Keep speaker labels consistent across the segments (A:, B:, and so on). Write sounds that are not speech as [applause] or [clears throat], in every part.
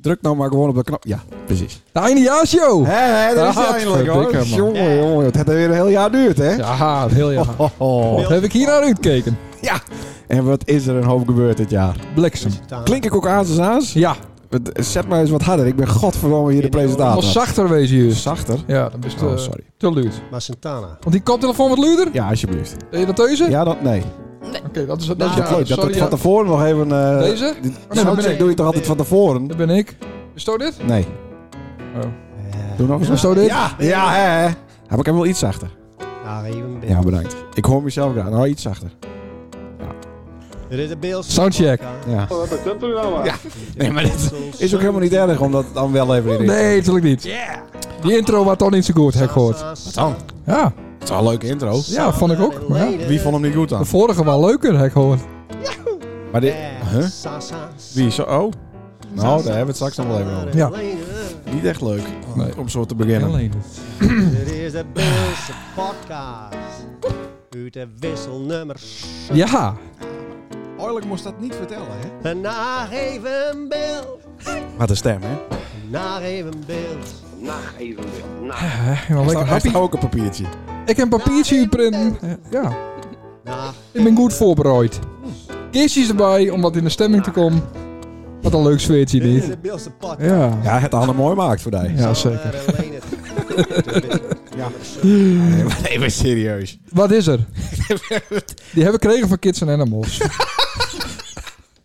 A: Druk nou maar gewoon op de knop. Ja, precies. De eindejaarshow!
B: Hé, hé, dat is
A: Ah,
B: het eindelijk hoor.
A: verdikke, man.
B: Jongen, jongen, het heeft weer een heel jaar duurt, hè?
A: Ja, een heel jaar.
B: Ho, ho.
A: Wat heb ik hier naar uitgekeken?
B: Ja. En wat is er een hoop gebeurd dit jaar?
A: Bliksem.
B: Klink ik ook aas als aas?
A: Ja,
B: Het- Zet mij eens wat harder. Ik ben godverdomme hier de
A: nog
B: presentator.
A: zachter wezen hier.
B: Zachter?
A: Ja, dan is het
B: Oh,
A: eh,
B: sorry.
A: te luid.
C: Maar Santana.
A: Want die koptelefoon wat luider?
B: Ja, alsjeblieft.
A: Ben je dat deze?
B: Ja, dat nee.
A: Oké, dat is dat
B: Dat
A: is
B: is
A: ja,
B: het leuk. Dat
A: sorry,
B: het van
A: ja.
B: tevoren nog even... eh,
A: Deze?
B: die
A: Oh, nee, dat ben
B: soundcheck
A: ik.
B: doe je toch altijd van tevoren?
A: Dat ben ik. Is dat dit?
B: Nee.
A: Oh.
B: Doe nog eens.
A: Is dat dit?
B: Ja, ja, hè, hè. Heb ik hem wel iets zachter?
C: Ja, even
B: Ja, bedankt. Ik hoor mezelf graag. Nou, iets zachter.
C: Dit is de Beels.
A: Soundcheck.
B: Ja.
D: Dat kunt u wel, maar.
B: Ja. Nee, maar dit is ook helemaal niet erg om dat dan wel even in te-
A: Nee, natuurlijk niet. Die intro was toch niet zo goed, heb ik gehoord.
C: Wat
B: dan?
A: Ja,
B: Het is wel een leuke intro.
A: ja vond ik ook. Maar ja,
B: Wie vond hem niet goed dan?
A: de vorige was leuker, heb ik gehoord.
B: Maar dit...
A: Eh,
B: Huh?
C: Sasa.
B: Wie? Zo, oh. Nou, daar hebben we het straks nog wel even over.
A: Ja.
B: Niet echt leuk
A: Nee.
B: om zo te beginnen.
A: Alleen.
C: Dit is de Beelse podcast. Uit de wisselnummer.
A: [clears throat] Ja,
B: Oorlijk moest dat niet vertellen, hè?
C: Naar even beeld.
B: Wat een stem, hè?
C: Naar even beeld.
D: Nacht even weer. Nacht.
A: eh, wel lekker
B: Hij
A: happy.
B: staat ook een papiertje.
A: Ik heb
B: Nou,
A: een papiertje uitprinten. Ja,
C: Naar
A: ik ben goed voorbereid. Kistjes erbij, om wat in de stemming te komen. Wat een leuk sfeertje
C: Dit is
A: dit.
C: de Beelse podcast.
A: Ja,
B: Ja, het Anne mooi maakt voor die.
A: ja zeker.
B: eh, Ja. Nee, maar nee, maar serieus.
A: Wat is er? Die hebben we gekregen van Kids and
B: [laughs]
A: Animals.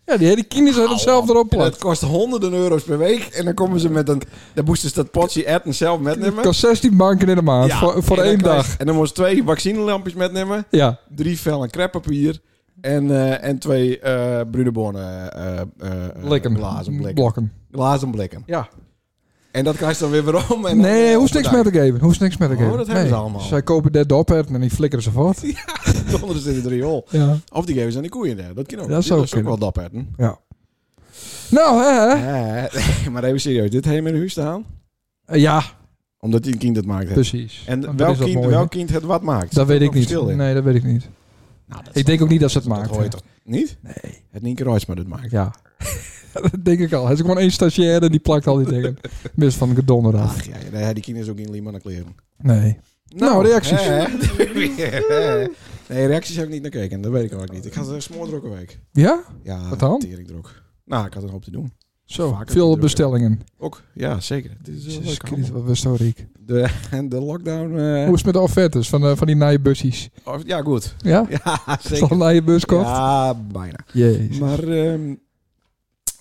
A: Ja, die hele kines had het zelf erop
B: En dat
A: plakt.
B: kost honderden euro's per week. En dan komen ze met een... Dan moesten ze dat potje Ed en zelf
A: Het
B: metnemen.
A: kost 16 banken in de maand,
B: Ja.
A: voor, voor
B: En dan
A: één
B: krijg-
A: dag.
B: En dan moest twee vaccinelampjes metnemen.
A: Ja,
B: Drie vellen creppapier. En, eh, en twee eh brunebonnen eh eh,
A: blikken.
B: Glazen blikken.
A: Blokken.
B: Glazen blikken.
A: Ja.
B: En dat krijg je dan eh, weer weer om. En
A: Nee, hoeft niks meer te geven. Hoeft niks meer te
B: Oh,
A: geven.
B: dat hebben
A: Nee.
B: ze allemaal.
A: Zij kopen dit op en die flikkeren ze voort.
B: [laughs] Donderen ze in het riool.
A: Ja.
B: Of die geven ze aan de koeien. hè. Dat kan ook.
A: Dat zou
B: is ook
A: kunnen.
B: wel dapper.
A: ja. Nou, hè?
B: Ja, [laughs] maar even serieus. Dit helemaal in huis staan?
A: Eh, Ja,
B: Omdat die een kind het maakt. hè.
A: precies. Want
B: En
A: dat
B: welk
A: is dat
B: kind,
A: mooie.
B: welk kind het wat maakt?
A: Dat weet ik
B: Zit er een
A: niet.
B: verschil in?
A: Nee, dat weet ik niet.
B: Nou, dat
A: Ik denk ook niet dat ze het maakt.
B: hoor je toch niet?
A: Nee.
B: Het Nienke Reitsma dat maakt.
A: Ja. [laughs] dat denk ik al. Hij is ook gewoon één stagiair en die plakt al die
B: [laughs]
A: dingen. Mis van de donderdag.
B: Ach ja, nee, die kind is ook in Lima naar kleren.
A: Nee. Nou, reacties.
B: hè? [laughs] nee, reacties heb ik niet naar gekeken. Dat weet ik ook niet. Ik had een smoordrokke week.
A: Ja?
B: Ja,
A: Wat dan?
B: teringdrok. Nou, ik had een hoop te doen.
A: Zo,
B: Vaker
A: veel
B: gedrukt.
A: bestellingen.
B: Ook, ja, zeker. Het is wel
A: Jezus
B: leuk
A: Christus,
B: allemaal.
A: wat was zo riek.
B: de, [laughs] en de lockdown... eh,
A: Hoe is het met de offertes van, eh, van die naaie busjes?
B: of- ja, goed. [laughs]
A: Ja?
B: Ja,
A: Is dat
B: zeker.
A: een naaie bus kocht?
B: Ja, bijna.
A: Jezus.
B: Maar, ehm,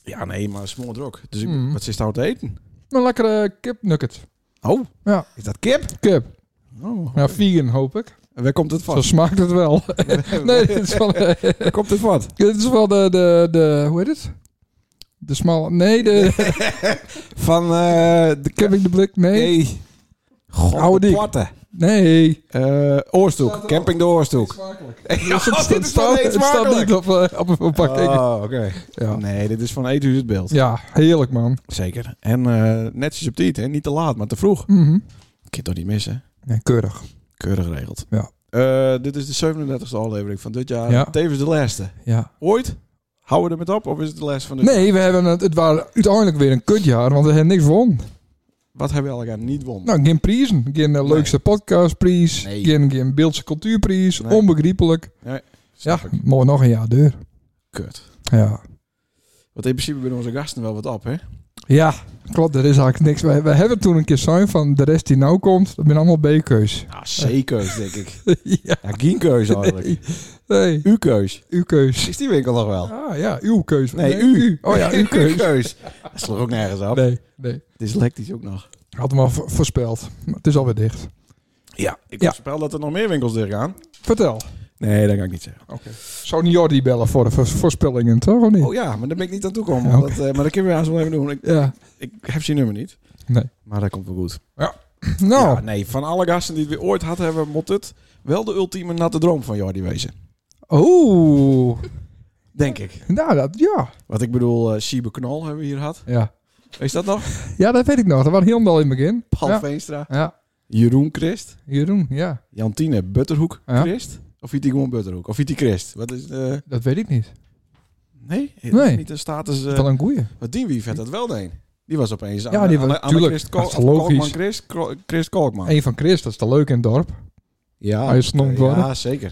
B: ja, nee, maar smoordrok. Dus ik,
A: Mm.
B: wat zit nou te eten?
A: Een lekkere kipnugget.
B: Oh,
A: Ja.
B: is dat kip?
A: Kip.
B: Oh,
A: Ja, vegan hoop ik.
B: en waar komt het
A: Zo
B: van?
A: smaakt het wel.
B: [laughs]
A: nee, dit is van, eh,
B: Waar komt het van?
A: [laughs] dit is van de, de, de... Hoe heet het? De smalle... Nee, de...
B: [laughs] Van eh, de
A: Kip ik de blik? Nee.
B: Nee. God,
A: Oude
B: de
A: dik.
B: platte.
A: Nee.
B: Eh, Oorstoek. Camping de Oorstoek. [laughs]
A: Dus
B: dit
A: het,
B: is
A: staat-
B: wel
A: staat,
B: eens
A: het staat
B: makkelijk.
A: niet [laughs] op, eh, op een verpakking.
B: Oh, oké.
A: ja.
B: Nee, dit is van Eethuis het beeld.
A: ja, heerlijk man.
B: Zeker. En eh, netjes op tijd, hè? Niet te laat, maar te vroeg.
A: Mhm.
B: Ik kan toch niet missen.
A: Ja, keurig.
B: Keurig geregeld.
A: Ja.
B: Eh, dit is de 37e aflevering van dit jaar.
A: Ja.
B: Tevens de laatste.
A: Ja.
B: Ooit? Houden we er met op? Of is het de laatste van dit jaar?
A: Nee, we hebben het, het waren uiteindelijk weer een kutjaar, want we hebben niks won.
B: Wat hebben we elkaar niet won?
A: Nou, geen prijzen. Geen eh, leukste podcastprijs.
B: Nee.
A: Geen, geen beeldse cultuurprijs.
B: Nee.
A: Onbegrijpelijk.
B: Snap
A: Ja,
B: ik.
A: mooi nog een jaar deur.
B: Kut.
A: Ja.
B: Want in principe binnen onze gasten wel wat op, hè?
A: Ja, klopt. Er is eigenlijk niks. We, we hebben toen een keer zijn van de rest die nou komt, dat zijn allemaal B-keus.
B: Ja, Ah, C-keus, denk ik.
A: [laughs] ja.
B: Ja, geen keus eigenlijk.
A: Nee,
B: Uw keus.
A: uw keus.
B: Is die winkel nog wel?
A: Ah ja, uw keus.
B: Nee, u.
A: Oh ja, uw keus.
B: Dat sloeg ook nergens op.
A: Nee, nee.
B: Het is lectisch ook nog.
A: Ik Eh, had hem al vo- voorspeld. Maar het is alweer dicht.
B: Ja, ik
A: Ja.
B: voorspel dat er nog meer winkels dicht gaan.
A: Vertel.
B: Nee, dat kan ik niet zeggen.
A: Zou niet Jordi bellen voor de vo- voorspellingen, toch? Of niet?
B: Oh ja, maar daar ben ik niet aan
A: [laughs]
B: toekomen.
A: Ja,
B: want dat, eh, maar dat kunnen we haast wel even doen. Ik,
A: ja.
B: ik heb zijn nummer niet.
A: Nee.
B: Maar dat komt wel goed.
A: [laughs] Nou,
B: Ja, nee, van alle gasten die we ooit had hebben, moet het wel de ultieme natte droom van Jordi wezen.
A: Oeh.
B: Denk ik.
A: Nou, dat, ja.
B: Wat ik bedoel, eh Siebe Knol hebben we hier gehad.
A: ja.
B: Is dat nog?
A: [laughs] Ja, dat weet ik nog. Dat was heel wel in het begin.
B: Paul
A: Ja.
B: Veenstra.
A: Ja.
B: Jeroen Christ.
A: Jeroen, Hmm, ja.
B: Jantine Butterhoek
A: Ja.
B: Christ. Of heet die gewoon Butterhoek? Of heet die Christ? Wat is eh
A: Dat weet ik niet.
B: Nee? Dat is
A: Nee.
B: Niet een status... eh,
A: Wel een goeie.
B: Wat dien wie vet dat wel deen? Die was opeens aan,
A: Ja, die was-
B: aan, aan
A: tuurlijk.
B: Christ
A: Dat is
B: Kol-
A: logisch.
B: Kolkman Christ, Kro- Christ Kolkman.
A: Eén van Chris, dat is te leuk in het dorp.
B: Ja,
A: Hij is snoemd worden.
B: Ja, zeker. [laughs]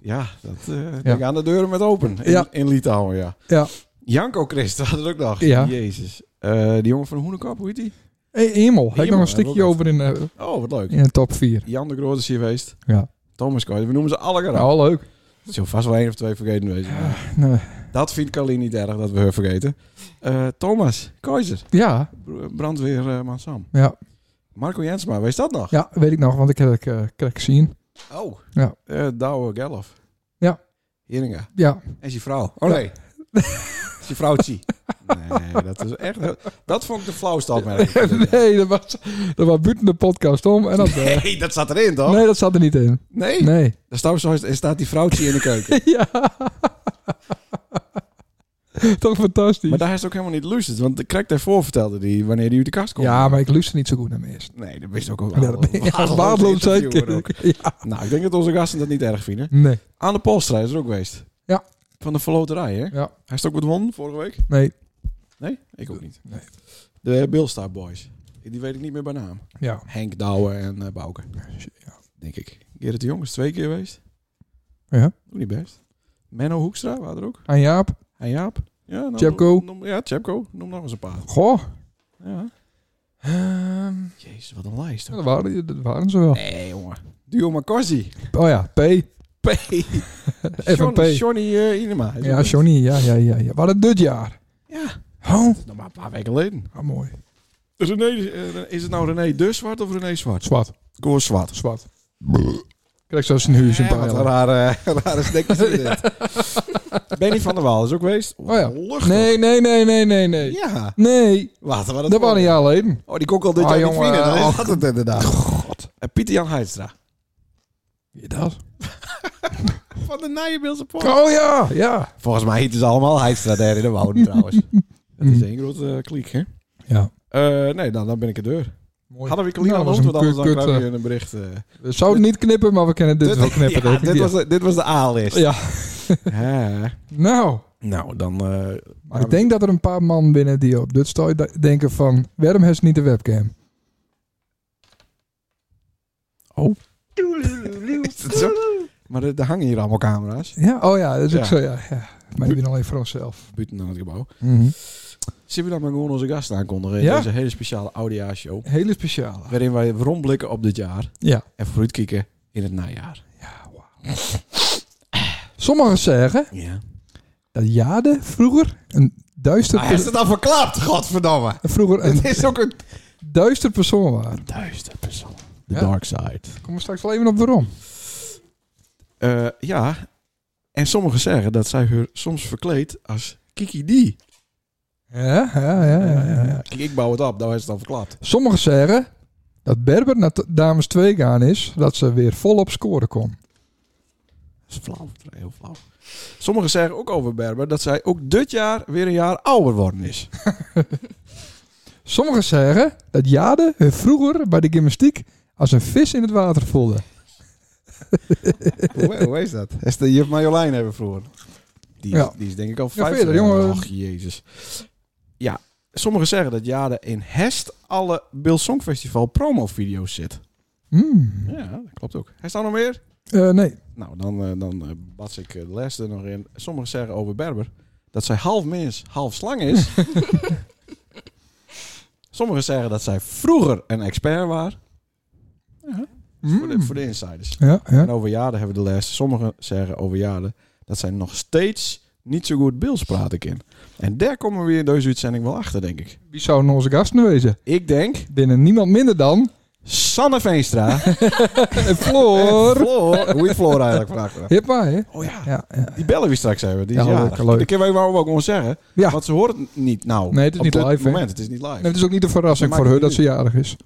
B: ja, dat eh denk aan de deuren met open. In,
A: Ja.
B: in Litouwen, ja.
A: Ja.
B: Janko Christ had het ook nog.
A: Ja.
B: Jezus. Eh, die jongen van Hoenekop, hoe heet die?
A: Hey, Emel, heb ik Oh, nog
B: Emel,
A: een
B: heb
A: stukje
B: ik ook
A: over in, eh,
B: Oh, wat leuk.
A: in de top 4.
B: Jan de Groot is hier geweest.
A: Ja.
B: Thomas Kooi, we noemen ze alle graag.
A: Nou, leuk. Ah,
B: Het zullen vast wel één of twee vergeten wezen. maar
A: Nee.
B: Dat vindt Carlien niet erg, dat we haar vergeten. Eh, Thomas Keizer,
A: Ja,
B: brandweerman Sam.
A: ja,
B: eh, Marco Jensma, wees dat nog?
A: ja, weet ik nog, want ik heb het eh, krijg zien.
B: Oh.
A: Ja.
B: Eh, Douwe Gellof.
A: Ja.
B: Heringa.
A: Ja,
B: En zijn vrouw. Oh nee. zijn vrouwtje. Nee, dat is echt... Dat vond ik de flauwste
A: [laughs]
B: opmerking.
A: nee, dat was, dat was buiten de podcast
B: [laughs]
A: om. En dat, eh,
B: Nee, dat zat erin toch?
A: nee, dat zat er niet in.
B: Nee.
A: Nee.
B: Daar staat, zo, er staat die vrouwtje in de keuken.
A: [laughs] ja. Toch fantastisch.
B: maar daar is het ook helemaal niet lustig. Want de krek daarvoor vertelde die wanneer die uit de kast komt.
A: ja, maar ik luister niet zo goed naar meest.
B: Nee, dat wist ook ook
A: Ja, dat
B: [laughs]
A: ben je als waardeloos
B: interviewer ook.
A: zeker. Ja.
B: Nou, ik denk dat onze gasten dat niet erg vinden.
A: Nee.
B: Aan de Polstra is er ook geweest.
A: Ja.
B: Van de verloterij, hè?
A: Ja.
B: Hij is ook met honden vorige week.
A: Nee.
B: Nee, ik ook niet.
A: Nee.
B: De Billstar Boys. Die weet ik niet meer bij naam.
A: Ja.
B: Henk Douwe en eh Bouke. Denk ik. Gerrit de Jong is twee keer geweest.
A: Ja.
B: Doe niet best. Menno Hoekstra waren er ook.
A: Aan Jaap.
B: En Jaap. Ja, nou,
A: Tjepko.
B: noem- ja, Chepko. Noem nog eens een paar.
A: Goh.
B: Ja.
A: Ehm,
B: Jezus, wat een lijst.
A: ja,
B: hoor.
A: dat, waren, dat waren ze wel.
B: Nee, jongen. Duo Makosi.
A: Oh ja, P.
B: [laughs] P.
A: Even
B: Johnny,
A: P.
B: Johnny eh, Inema. is
A: Ja,
B: ook-
A: Johnny. Ja, ja, ja. ja. Wat een dit jaar.
B: Ja,
A: Oh.
B: nog maar een paar weken geleden.
A: Ah, mooi.
B: René, eh, is het nou René de Zwart of René Zwart?
A: Zwart.
B: Koor Zwart.
A: Zwart. Krijg zo zijn huis een
B: Ja,
A: paar
B: wat een
A: jaar.
B: rare, [laughs] rare snackjes is
A: [laughs]
B: dit. Benny van der Waal is ook geweest.
A: Oh ja.
B: Luchtig.
A: Nee, nee, nee, nee, nee, nee.
B: Ja.
A: Nee.
B: Laten we dat
A: Dat was een jaar geleden.
B: Oh, die kon ik al dit
A: Ah,
B: jaar
A: jongen,
B: niet winnen. Dan
A: ach.
B: is dat het inderdaad. God. En Pieter-Jan Heidstra.
A: Ja, dat.
B: Van de Nijenbeelse Poort.
A: Oh ja, ja.
B: Volgens mij heten ze allemaal Heidstra daar in de
A: [laughs]
B: wouden trouwens. Dat is één grote eh, kliek, hè?
A: Ja.
B: Eh, nee, dan, dan ben ik er deur.
A: Mooi.
B: Hadden we Kalina
A: Nou,
B: nou,
A: dat
B: ons,
A: was
B: want anders
A: een
B: dan
A: kut,
B: krijgen
A: eh,
B: we een bericht. eh.
A: We zouden het niet knippen, maar we kennen dit wel
B: [laughs] ja,
A: knippen. denk ik.
B: dit,
A: Ja.
B: was de, dit
A: [laughs]
B: was de A-list.
A: Ja.
B: Ja.
A: Nou.
B: Nou, dan... eh,
A: Maar ik denk dat er een paar man binnen die op dit stooi da- denken van... Waarom heeft ze niet de webcam?
B: Oh. Is het zo? Maar er, er hangen hier allemaal camera's.
A: Ja, oh ja, dat is ook
B: Ja.
A: zo, ja. ja. Maar die ben alleen voor onszelf.
B: Buiten aan het gebouw.
A: Mhm.
B: Zullen we dan maar gewoon onze gast aankondigen? in
A: Ja.
B: Deze hele speciale ODA-show.
A: Hele speciale.
B: Waarin wij rondblikken op dit jaar.
A: Ja.
B: En vooruitkijken in het najaar.
A: Sommigen zeggen
B: Ja.
A: dat Jade vroeger een duister,
B: Hij heeft het al verklapt, godverdomme.
A: vroeger
B: [laughs]
A: een
B: Het is ook een
A: duister persoon was.
B: duister persoon. The
A: Ja.
B: dark side.
A: Kom er straks wel even op waarom.
B: Eh, ja. En sommigen zeggen dat zij haar soms verkleedt als Kiki D.
A: Ja, ja, ja, ja, ja, ja.
B: Kijk, ik bouw het op, nou is het al verklapt.
A: Sommigen zeggen dat Berber naar t- dames 2 gaan is... dat ze weer volop scoren kon.
B: Dat is flauw, heel flauw. Sommigen zeggen ook over Berber dat zij ook dit jaar weer een jaar ouder worden
A: [laughs]
B: is.
A: Sommigen zeggen dat Jade haar vroeger bij de gymnastiek... als een vis in het water voelde.
B: hoe,
A: [laughs]
B: hoe is dat? Is de juf Marjolein hebben vroeger. Die is,
A: Ja.
B: die is denk ik al
A: Ja,
B: vijf.
A: verder,
B: jaar.
A: jongen.
B: Och, jezus. Ja, sommigen zeggen dat Jade in Hest alle Bill Song Festival promovideo's zit.
A: Hmm.
B: Ja, dat klopt ook. Hest dan nog meer?
A: Eh, nee.
B: Nou, dan, eh, dan eh, bats ik eh, de les er nog in. Sommigen zeggen over Berber dat zij half mens, half slang
A: [laughs]
B: is. sommigen zeggen dat zij vroeger een expert was. Voor, de,
A: Hmm.
B: voor de insiders.
A: Ja, ja.
B: En over jaren hebben we de les. Sommigen zeggen over jaren dat zij nog steeds niet zo goed Bills praten kan. En daar komen we weer in deze uitzending wel achter, denk ik.
A: Wie zou nou onze gasten wezen?
B: Ik denk
A: Binnen niemand minder dan...
B: Sanne Veenstra. [laughs]
A: en Floor!
B: Floor. Hoe heet Floor eigenlijk vandaag?
A: Hippa, hè?
B: Oh ja.
A: Ja, ja.
B: Die bellen we straks hebben. Die is
A: Ja,
B: ja,
A: leuk, leuk.
B: Ik heb even ook gewoon zeggen.
A: Ja.
B: Want ze hoort het niet nou.
A: Nee, het is
B: Op
A: niet
B: dit
A: live, hè?
B: moment. Het is niet live.
A: Nee, het is ook niet een verrassing
B: Dat
A: voor
B: maakt
A: haar dat
B: niet
A: ze jarig is.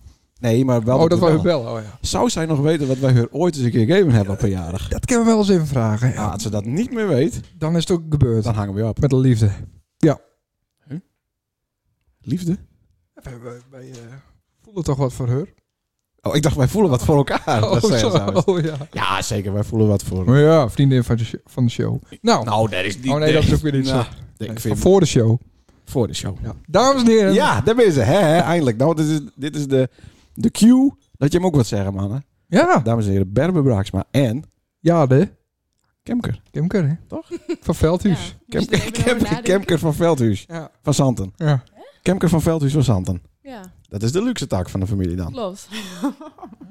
B: Nee, maar wel.
A: oh,
B: we
A: dat was
B: bellen.
A: haar bellen. Oh, ja.
B: Zou zij nog weten wat wij haar ooit eens een keer gegeven hebben op een jarig?
A: Dat kunnen we wel eens even vragen.
B: Ja, als ze dat niet meer weet,
A: Dan is het ook gebeurd.
B: dan hangen we op.
A: Met de liefde. [laughs]
B: Liefde?
A: Oh, Wij, eh, voelen toch wat voor haar?
B: Oh, ik dacht wij voelen wat voor elkaar. dat zei ze trouwens.
A: Oh, ja.
B: Ja, zeker. Wij voelen wat voor.
A: Maar ja, vriendin van de, sho- van de show. Nou,
B: Nou, dat is niet.
A: oh nee, dat is ook weer niet zo.
B: Ik
A: Nee,
B: vind
A: van voor de show.
B: voor de show.
A: Ja. Dames en heren.
B: Ja, daar ben ze. Hè, hè, eindelijk. Nou, dit is, dit is de, de cue dat je hem ook wat zeggen, mannen.
A: Ja,
B: Dames en heren, Berber Braaksma en
A: ja de
B: Kemker.
A: Kemker, hè?
B: Toch?
A: Van Veldhuis.
E: dus
B: Kemker,
E: ik ben erover
B: Kemker,
E: nadenken.
B: Kemker van Veldhuis.
A: Ja.
B: Van Santen.
A: ja.
B: Kemker van Veldhuis van Santen.
E: Ja,
B: Dat is de luxe taak van de familie dan.
F: [laughs]
E: klopt.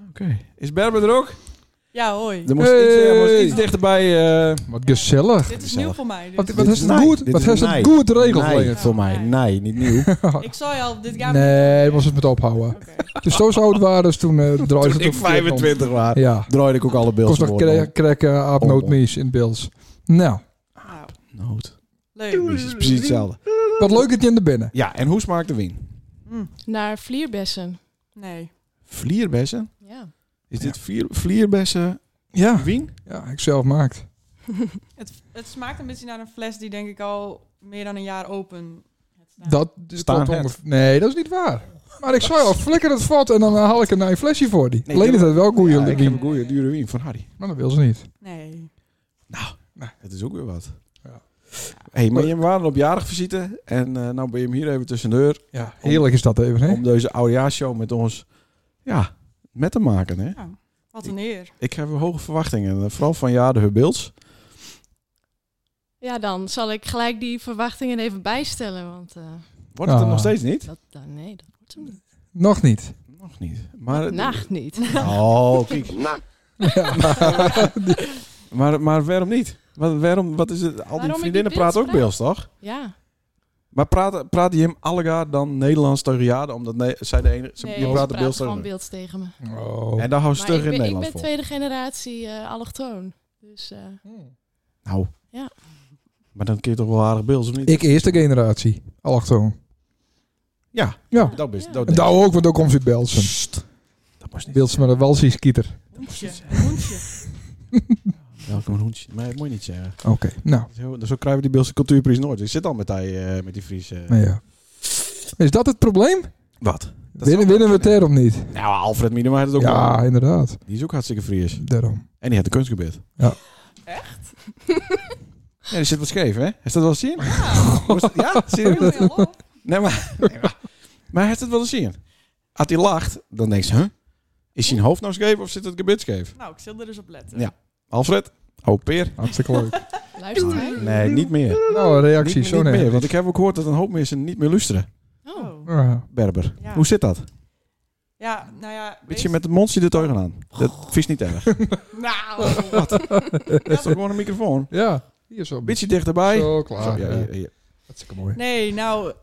B: Oké. Is Berber er ook?
E: Ja, hoi.
B: Er moest,
A: Hey.
B: iets, eh, er moest iets dichterbij. eh,
A: Wat gezellig.
E: Dit is
B: Gezellig.
E: nieuw voor mij.
A: Wat,
E: Dus.
A: wat
B: dit
A: heeft
B: is
A: het
B: nee,
A: goed?
B: dit
A: Wat
B: is
A: heeft
B: nee.
A: het goed regeld,
B: nee,
A: Leonard?
B: voor mij. Nee, niet
A: [laughs]
B: nieuw.
E: Ik zal je al, dit gaat
A: Nee, daar was het met ophouden.
E: Oké.
A: Dus zo zo oud waren ze toen eh draaide
B: Toen
A: het
B: ik
A: op verkeerd om.
B: 25 was,
A: Ja.
B: draaide ik ook alle beelden.
A: Kost nog kre- krekken, aapnoot,
B: Oh.
A: mies in beeld. Nou,
E: Nou,
B: Nood.
E: leuk.
B: Dus het is precies hetzelfde.
A: wat leuk dat je in de binnen.
B: Ja, en hoe smaakt de wien?
F: Mm. Naar Vlierbessen.
E: Nee.
B: Vlierbessen?
F: Ja.
B: Is dit vier, vlierbessen
A: Ja.
B: wien?
A: Ja, ik zelf maakt.
E: Het, het smaakt een beetje naar een fles die denk ik al meer dan een jaar open staat.
A: Dat is
B: Staan
A: klopt
B: het.
A: ongeveer- Nee, dat is niet waar. Maar ik zou al flikker het vat en dan haal ik er nou een flesje voor die.
B: Nee,
A: Alleen is
B: ik-
A: dat wel goeie
B: Ja, ik
A: wien.
B: heb een goede dure wien van Harry.
A: Maar dat wil ze niet.
E: Nee.
B: Het is ook weer wat.
A: Ja.
B: Hey, maar je waren op jaarigvisite en eh, nou ben je hem hier even tussendoor
A: Ja, heerlijk is dat even, hè?
B: om deze oudejaarsshow met ons ja, met te maken. Hè?
E: Wat een eer.
B: Ik heb hoge verwachtingen, eh, vooral van ja, de Hubbilds.
F: Ja, dan zal ik gelijk die verwachtingen even bijstellen, want eh,
B: Wordt het er
A: Ah.
B: nog steeds niet?
F: dat, dan nee, dat wordt hem niet.
A: Nog niet.
B: Nog niet. Maar, het-
F: Nacht niet.
B: Oh, kijk.
D: Nou,
B: [laughs] Maar, maar waarom niet? Wat, waarom, wat is het? Al
F: Waarom ik
B: die
F: die
B: vriendinnen
F: Beels
B: praten ook
F: praat?
B: Beels, toch?
F: Ja.
B: Maar praten, praten je hem allegaar dan Nederlands tegen Jade? Omdat nee, zij de enige... ze-
E: Nee,
B: je
E: ze
B: praat de
F: Ze praten
B: Beels
F: gewoon
B: tegen me.
F: beeld tegen me.
A: Oh.
B: En daar hou je
F: Maar ik
B: stug in
F: ben, ik
B: Nederland
F: ben
B: voor.
F: tweede generatie eh, allochtoon. Dus eh,
B: Nou.
F: Ja.
B: Maar dan kun je toch wel aardig Beels, of niet?
A: Ik eerste generatie. Allochtoon.
B: Ja,
A: Ja.
B: dat is...
F: Ja.
B: Dat,
A: En daar ook, want ook komt ze uit Belsen.
B: Sst. dat moest niet.
A: Beelsen met een Walsie-skieter.
E: Hoentje.
B: [laughs]
E: Hoentje.
B: Welkom een hoentje. Maar dat moet je niet zeggen.
A: Oké, nou.
B: Zo, zo krijgen we die Beelse cultuurprijs nooit. Ik zit al met die, eh, met die Fries... eh.
A: nou ja. Is dat het probleem?
B: Wat? Dat
A: Winnen,
B: zou-
A: winnen we het daarom niet?
B: Nou, Alfred Minema had het ook
A: Ja,
B: wel.
A: inderdaad.
B: Die is ook hartstikke Fries.
A: Daarom.
B: En die had een kunstgebied.
A: Ja.
B: Echt? [laughs] Ja, er zit wat scheef, hè? Is dat wel eens zien? Moest- Ja, serieus?
E: Hallo.
B: Nee, maar... Nee, maar. maar heeft het wel eens zien? Als hij lacht, dan denk je, huh? Is zijn hoofd nou scheef of zit het gebit scheef?
E: Nou, ik zal er dus op letten.
B: Ja. Alfred? Oh, Peer?
A: Hartstikke
E: [laughs]
A: leuk.
F: luistert hij?
B: Nee, niet meer.
A: nou, reactie,
B: niet,
A: zo
B: niet
A: net.
B: meer, want ik heb ook gehoord dat een hoop mensen niet meer luisteren.
F: Oh.
E: Oh.
A: Ja.
B: Berber.
E: Ja.
B: Hoe zit dat?
E: Ja, nou ja.
B: Beetje
E: weet- Oh.
B: met het mondje de teugen aan. Dat vies niet erg.
A: [laughs]
E: Nou.
B: Dat is toch gewoon een microfoon?
A: ja, hier zo.
B: Beetje dichterbij.
A: Zo
B: Zo,
A: klaar.
B: ja,
A: Ja,
B: ja, ja.
A: Hartstikke mooi.
E: Nee, nou,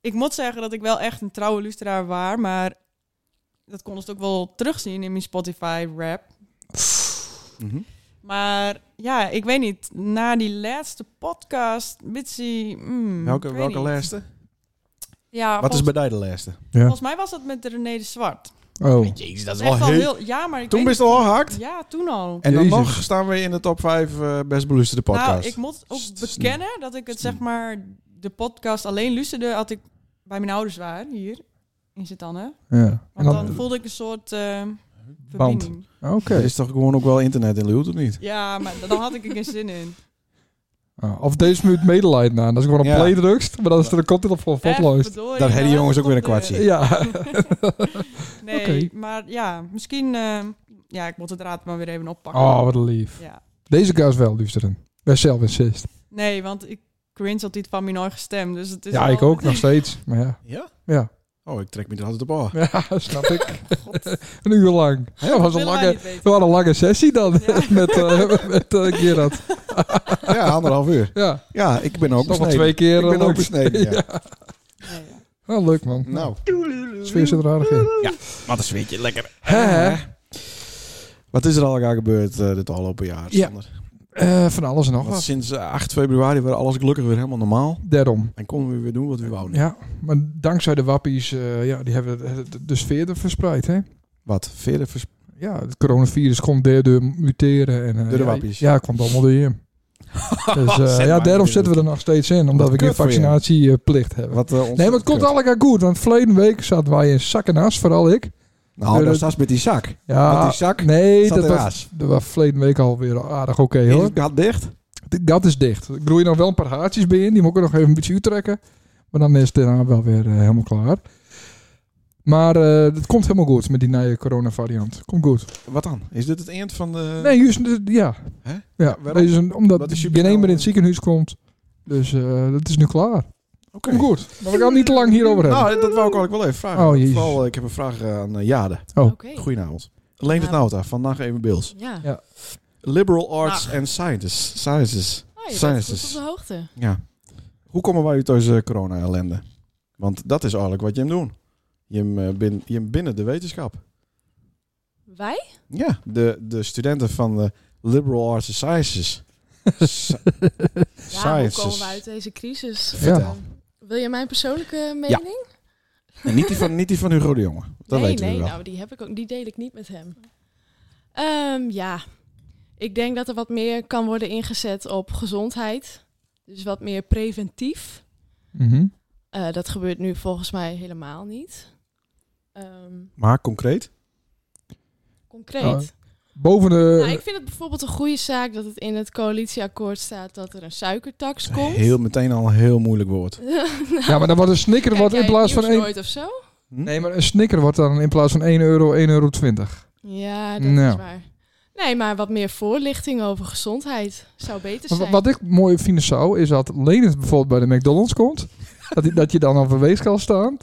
E: ik moet zeggen dat ik wel echt een trouwe luisteraar was, maar dat kon ik ook wel terugzien in mijn Spotify-rap.
B: Mhm.
E: Maar ja, ik weet niet, na die laatste podcast, Bitsy... mm, ik
B: Welke,
E: weet
B: welke
E: niet.
B: laatste?
E: Ja,
B: Wat is
E: volgens,
B: bij jou de laatste?
E: volgens mij was dat met René de Zwart.
A: Oh,
B: Jezus, dat
E: Echt al heel... Ja, maar ik
B: Toen ben
E: weet
B: je al gehakt.
E: niet- Ja, toen al.
B: En dan
A: Jezus.
B: nog staan we in de top 5 eh, best beluisterde podcast.
E: Nou, ik moet ook
B: St- st-
E: bekennen dat ik het zeg maar, de podcast alleen luisterde had ik bij mijn ouders waar, hier in Zitanne.
A: ja. En
E: Want dan,
A: dan,
E: voelde ik een soort eh,
A: Band.
E: verbinding.
A: oké.
B: Er is toch gewoon ook wel internet in Leeuwarden, of niet?
E: Ja, maar dan had ik er geen zin in.
A: Ah, of deze minuut medelijden aan. Als ik gewoon op
B: Ja.
A: play drukst, maar dan is er een content op voor potlood.
E: Daar
B: Dan hebben die jongens ook weer een
E: [laughs]
B: kwartje.
A: Ja. [laughs]
E: Nee,
A: Oké.
E: maar ja, misschien... eh, ja, ik moet het raad maar weer even oppakken.
A: Oh, wat lief.
E: Ja.
A: Deze guy is wel liefderen. Bij zelf insist.
E: Nee, want ik cringe altijd van mijn eigen stem. Dus het is
A: Ja,
E: wel-
A: ik ook nog steeds. Maar ja.
B: Ja?
A: Ja,
B: Oh, ik trek me er altijd op aan.
A: ja snap ik. [laughs] een uur lang. Hè, dat was een
E: Willen wij
A: lange,
E: niet weten.
A: dat was een lange sessie dan.
E: Ja.
A: [laughs] met
E: [laughs]
A: eh met eh, Gerard.
B: Ja, anderhalf uur.
A: Ja,
B: Ja, ik ben ook
A: nog wel
B: besneden.
A: twee keer.
B: Ik ben
A: eh,
B: ook
A: leuk. [laughs]
B: besneden, ja.
E: Nee, ja.
A: Ah, leuk man.
B: Nou,
A: Sfeer zit er aardig in.
B: wat een zweetje, lekker.
A: Hè, hè?
B: Wat is er al gaan gebeurd eh, dit afgelopen jaar?
A: Ja,
B: Sander?
A: Eh, van alles en nog
B: Want
A: wat.
B: sinds eh, 8 februari werd alles gelukkig weer helemaal normaal.
A: Daarom.
B: En konden we weer doen wat we wouden.
A: Ja, maar dankzij de wappies, eh, ja, die hebben de- de- de sfeer er verspreid, hè?
B: Wat? Verder vers...
A: Ja, het coronavirus kon daardoor muteren. En, eh,
B: Door de
A: ja,
B: wappies. [laughs]
A: Ja, komt allemaal door je. Dus eh,
B: Zet
A: ja,
B: maar
A: daarom
B: niet
A: zitten we er nog steeds in. Omdat
B: Wat
A: we geen
B: kut voor je.
A: vaccinatieplicht hebben.
B: Wat, eh,
A: nee, maar het komt
B: kut.
A: allemaal goed. Want verleden week zaten wij in zak en as, vooral ik.
B: Nou,
A: Door
B: dat
A: de-
B: staat met die zak.
A: Ja,
B: Met die zak
A: nee,
B: zat
A: dat
B: er
A: was,
B: aas.
A: dat was verleden week alweer aardig oké
B: is
A: hoor.
B: het gat dicht.
A: De gat is dicht. Ik groei nog wel een paar haartjes bij in. Die moet ik er nog even een beetje uittrekken. Maar dan is het daarna wel weer eh, helemaal klaar. Maar eh het komt helemaal goed met die nieuwe coronavariant. Komt goed.
B: Wat dan? Is dit het eind van de...
A: Nee, juist, eh, ja.
B: Hè?
A: ja
B: waarom?
A: deze- omdat
B: Wat
A: is
B: is
A: geen
B: je
A: een
B: bestel-
A: in het ziekenhuis komt. Dus eh, dat is nu klaar.
B: Oké.
A: Komt goed. Maar we gaan niet te lang hierover hebben.
B: Nou, dat wou ik eigenlijk wel even vragen.
A: Oh, jezus.
B: Vooral, eh, ik heb een vraag eh, aan eh, Jade.
A: Oh.
F: Oké.
B: Goedenavond. Leent het
F: Ja.
B: Nauta van Nacht Even Bills.
F: Ja.
A: Ja.
B: Liberal Arts and Sciences. Sciences.
F: Oh, je bent
B: Sciences.
F: goed op de hoogte.
B: Ja. Hoe komen wij uit deze corona-ellende? Want dat is eigenlijk wat je hem doen. Je hem, eh, bin, je hem binnen de wetenschap.
F: Wij?
B: Ja, de, de studenten van de Liberal Arts and [laughs] Sciences. Sci-
F: Ja, hoe komen we uit deze crisis?
A: Vertel.
F: Eh, wil je mijn persoonlijke mening?
B: En niet, die van, niet die van Hugo de Jonge. Dat
F: nee,
B: weten
F: nee,
B: we wel.
F: nou, die heb ik ook. Die deel ik niet met hem. Ehm, ja, ik denk dat er wat meer kan worden ingezet op gezondheid. Dus wat meer preventief.
A: Mhm.
F: Eh, dat gebeurt nu volgens mij helemaal niet. Ehm,
B: Maar concreet? Nou,
F: concreet.
A: Ja. Nou, Boven de...
F: Nou, ik vind het bijvoorbeeld een goede zaak dat het in het coalitieakkoord staat dat er een suikertax komt.
B: Heel meteen al een heel moeilijk woord.
A: ja, maar dan wordt een snicker
F: [laughs] Kijk
A: wordt
F: jij
A: in
F: het
A: plaats van...
F: nieuws
A: één.
F: nooit of zo?
B: Hm?
A: nee, maar een snicker wordt dan in plaats van 1 euro 1,20 euro.
F: Ja, dat
A: Nou.
F: is waar. Nee, maar wat meer voorlichting over gezondheid zou beter
A: Wat-
F: zijn.
A: Wat ik mooi vind zou, is dat Lenert bijvoorbeeld bij de McDonald's komt. dat, die- dat je dan op een weegschaal staat.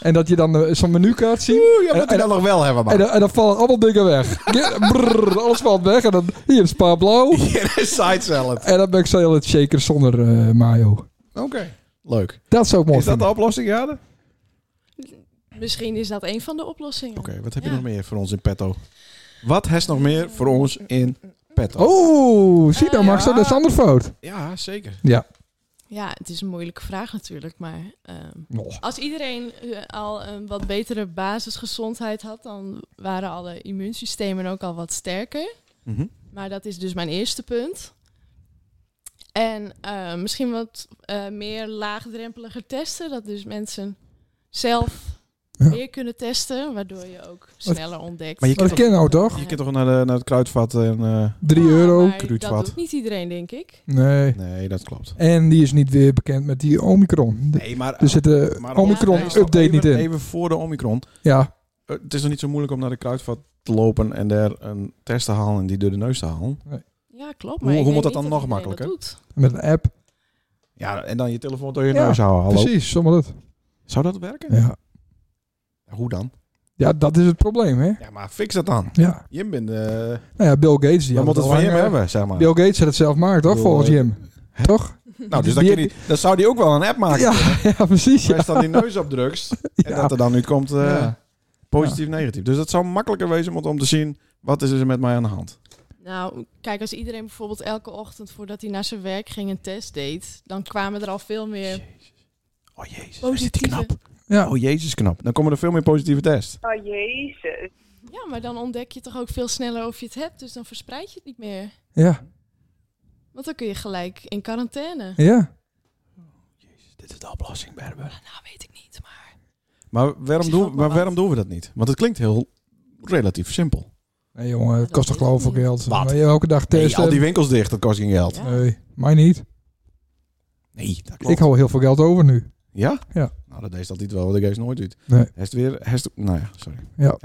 A: En dat je dan eh, zo'n menukaart ziet.
B: Oeh, ja, moet hij dat nog wel hebben,
A: En,
B: man.
A: dan- en dan vallen allemaal dingen weg. Ja, brrr, alles valt weg. En dan hier spa blauw.
B: [laughs] Hier is side salad.
A: En dan ben ik salad shaker zonder eh, mayo.
B: Oké. Leuk.
A: Dat zou ik mooi
B: Is dat de
A: vinden.
B: oplossing, Jade? Oké,
F: Misschien is dat een van de oplossingen.
B: wat heb je
F: Ja.
B: nog meer voor ons in petto? Wat has nog meer voor ons in petto? nou,
A: Oh, zie dan,
F: Eh,
A: Max,
B: ja.
A: dat is ander fout.
B: Ja, zeker.
F: Ja, het is een moeilijke vraag natuurlijk, maar ehm,
A: Oh,
F: als iedereen eh, al een wat betere basisgezondheid had, dan waren alle immuunsystemen ook al wat sterker.
B: Mhm.
F: Maar dat is dus mijn eerste punt. En eh, misschien wat eh, meer laagdrempeliger testen. Dat dus mensen zelf
A: Ja.
F: meer kunnen testen. Waardoor je ook sneller ontdekt.
B: maar je
A: Maar dat ken nou toch?
B: Je kunt toch naar, de, naar het kruidvat en... eh,
A: 3
F: Ja,
A: euro.
F: maar Dat
B: Kruidvat.
F: doet niet iedereen, denk ik.
A: Nee.
B: Nee, dat klopt.
A: En die is niet weer bekend met die Omicron. De-
B: Nee, maar...
A: Er zit de
B: maar-
F: Ja,
A: Omicron
F: nee,
A: update
B: even,
A: niet in.
B: Even voor de Omicron.
A: Ja,
B: Eh, het is nog niet zo moeilijk om naar de kruidvat te lopen en daar een test te halen en die door de neus te halen.
F: Ja, klopt.
B: Hoe-
F: Maar
B: hoe
F: ik [laughs] denk
B: moet dat dan
F: niet
B: nog
F: iedereen dat
B: makkelijker?
F: doet.
A: met een app.
B: Ja, en dan je telefoon door je
A: Ja,
B: neus houden. Hallo.
A: Precies, zomaar dat.
B: Zou dat werken?
A: Ja.
B: Hoe dan?
A: ja, dat is het probleem, hè?
B: Ja, maar fix dat dan.
A: Ja.
B: Jim bent...
A: [laughs]
B: eh
A: Nou ja, Bill Gates. Die
B: we
A: had
B: moeten het van
A: al
B: Jim
A: lang,
B: hebben, zeg maar.
A: eh, Bill Gates had het zelf gemaakt, toch?
B: Bill,
A: Volgens
B: eh,
A: Jim. Toch?
B: Nou, dus
A: Die-
B: dan, kan die, dan zou die ook wel een app maken.
A: Ja, [laughs] ja precies.
B: Als
A: Ja.
B: je dan die neus opdrukt en
A: [laughs] Ja.
B: dat er dan nu komt eh,
A: Ja.
B: positief, negatief. Dus dat zou makkelijker wezen om- om te zien wat is er met mij aan de hand.
F: Nou, kijk, als iedereen bijvoorbeeld elke ochtend voordat hij naar zijn werk ging een test deed, dan kwamen er al veel meer
B: Oh jezus, wat is die
F: positieve.
B: knap.
A: Ja.
B: Oh jezus, knap. Dan komen er veel meer positieve tests.
G: Oh jezus.
F: Ja, maar dan ontdek je toch ook veel sneller of je het hebt, dus dan verspreid je het niet meer.
A: ja,
F: Want dan kun je gelijk in quarantaine.
A: ja.
B: Dit is de oplossing, Berber.
F: Nou, weet ik niet, maar...
B: Maar waarom,
F: Ik
B: doen,
F: zeg ook maar
B: maar
F: wat.
B: waarom doen we dat niet? Want het klinkt heel relatief simpel.
A: Nee, jongen, het
F: Dat
A: kost toch
F: weet ik
A: geloof ik
F: niet.
A: geld.
B: Wat?
A: Maar je elke dag
B: Nee,
A: testen.
B: al die winkels dicht, dat kost geen geld.
F: Ja.
A: Nee, mij niet.
B: Nee, dat klopt.
A: Ik hou heel veel geld over nu.
B: Ja?
A: Ja.
B: Nou, dat deed dat niet wel, want ik geef nooit uit.
A: Nee.
B: Hij is weer... Hij is, nou ja, sorry.
A: Ja.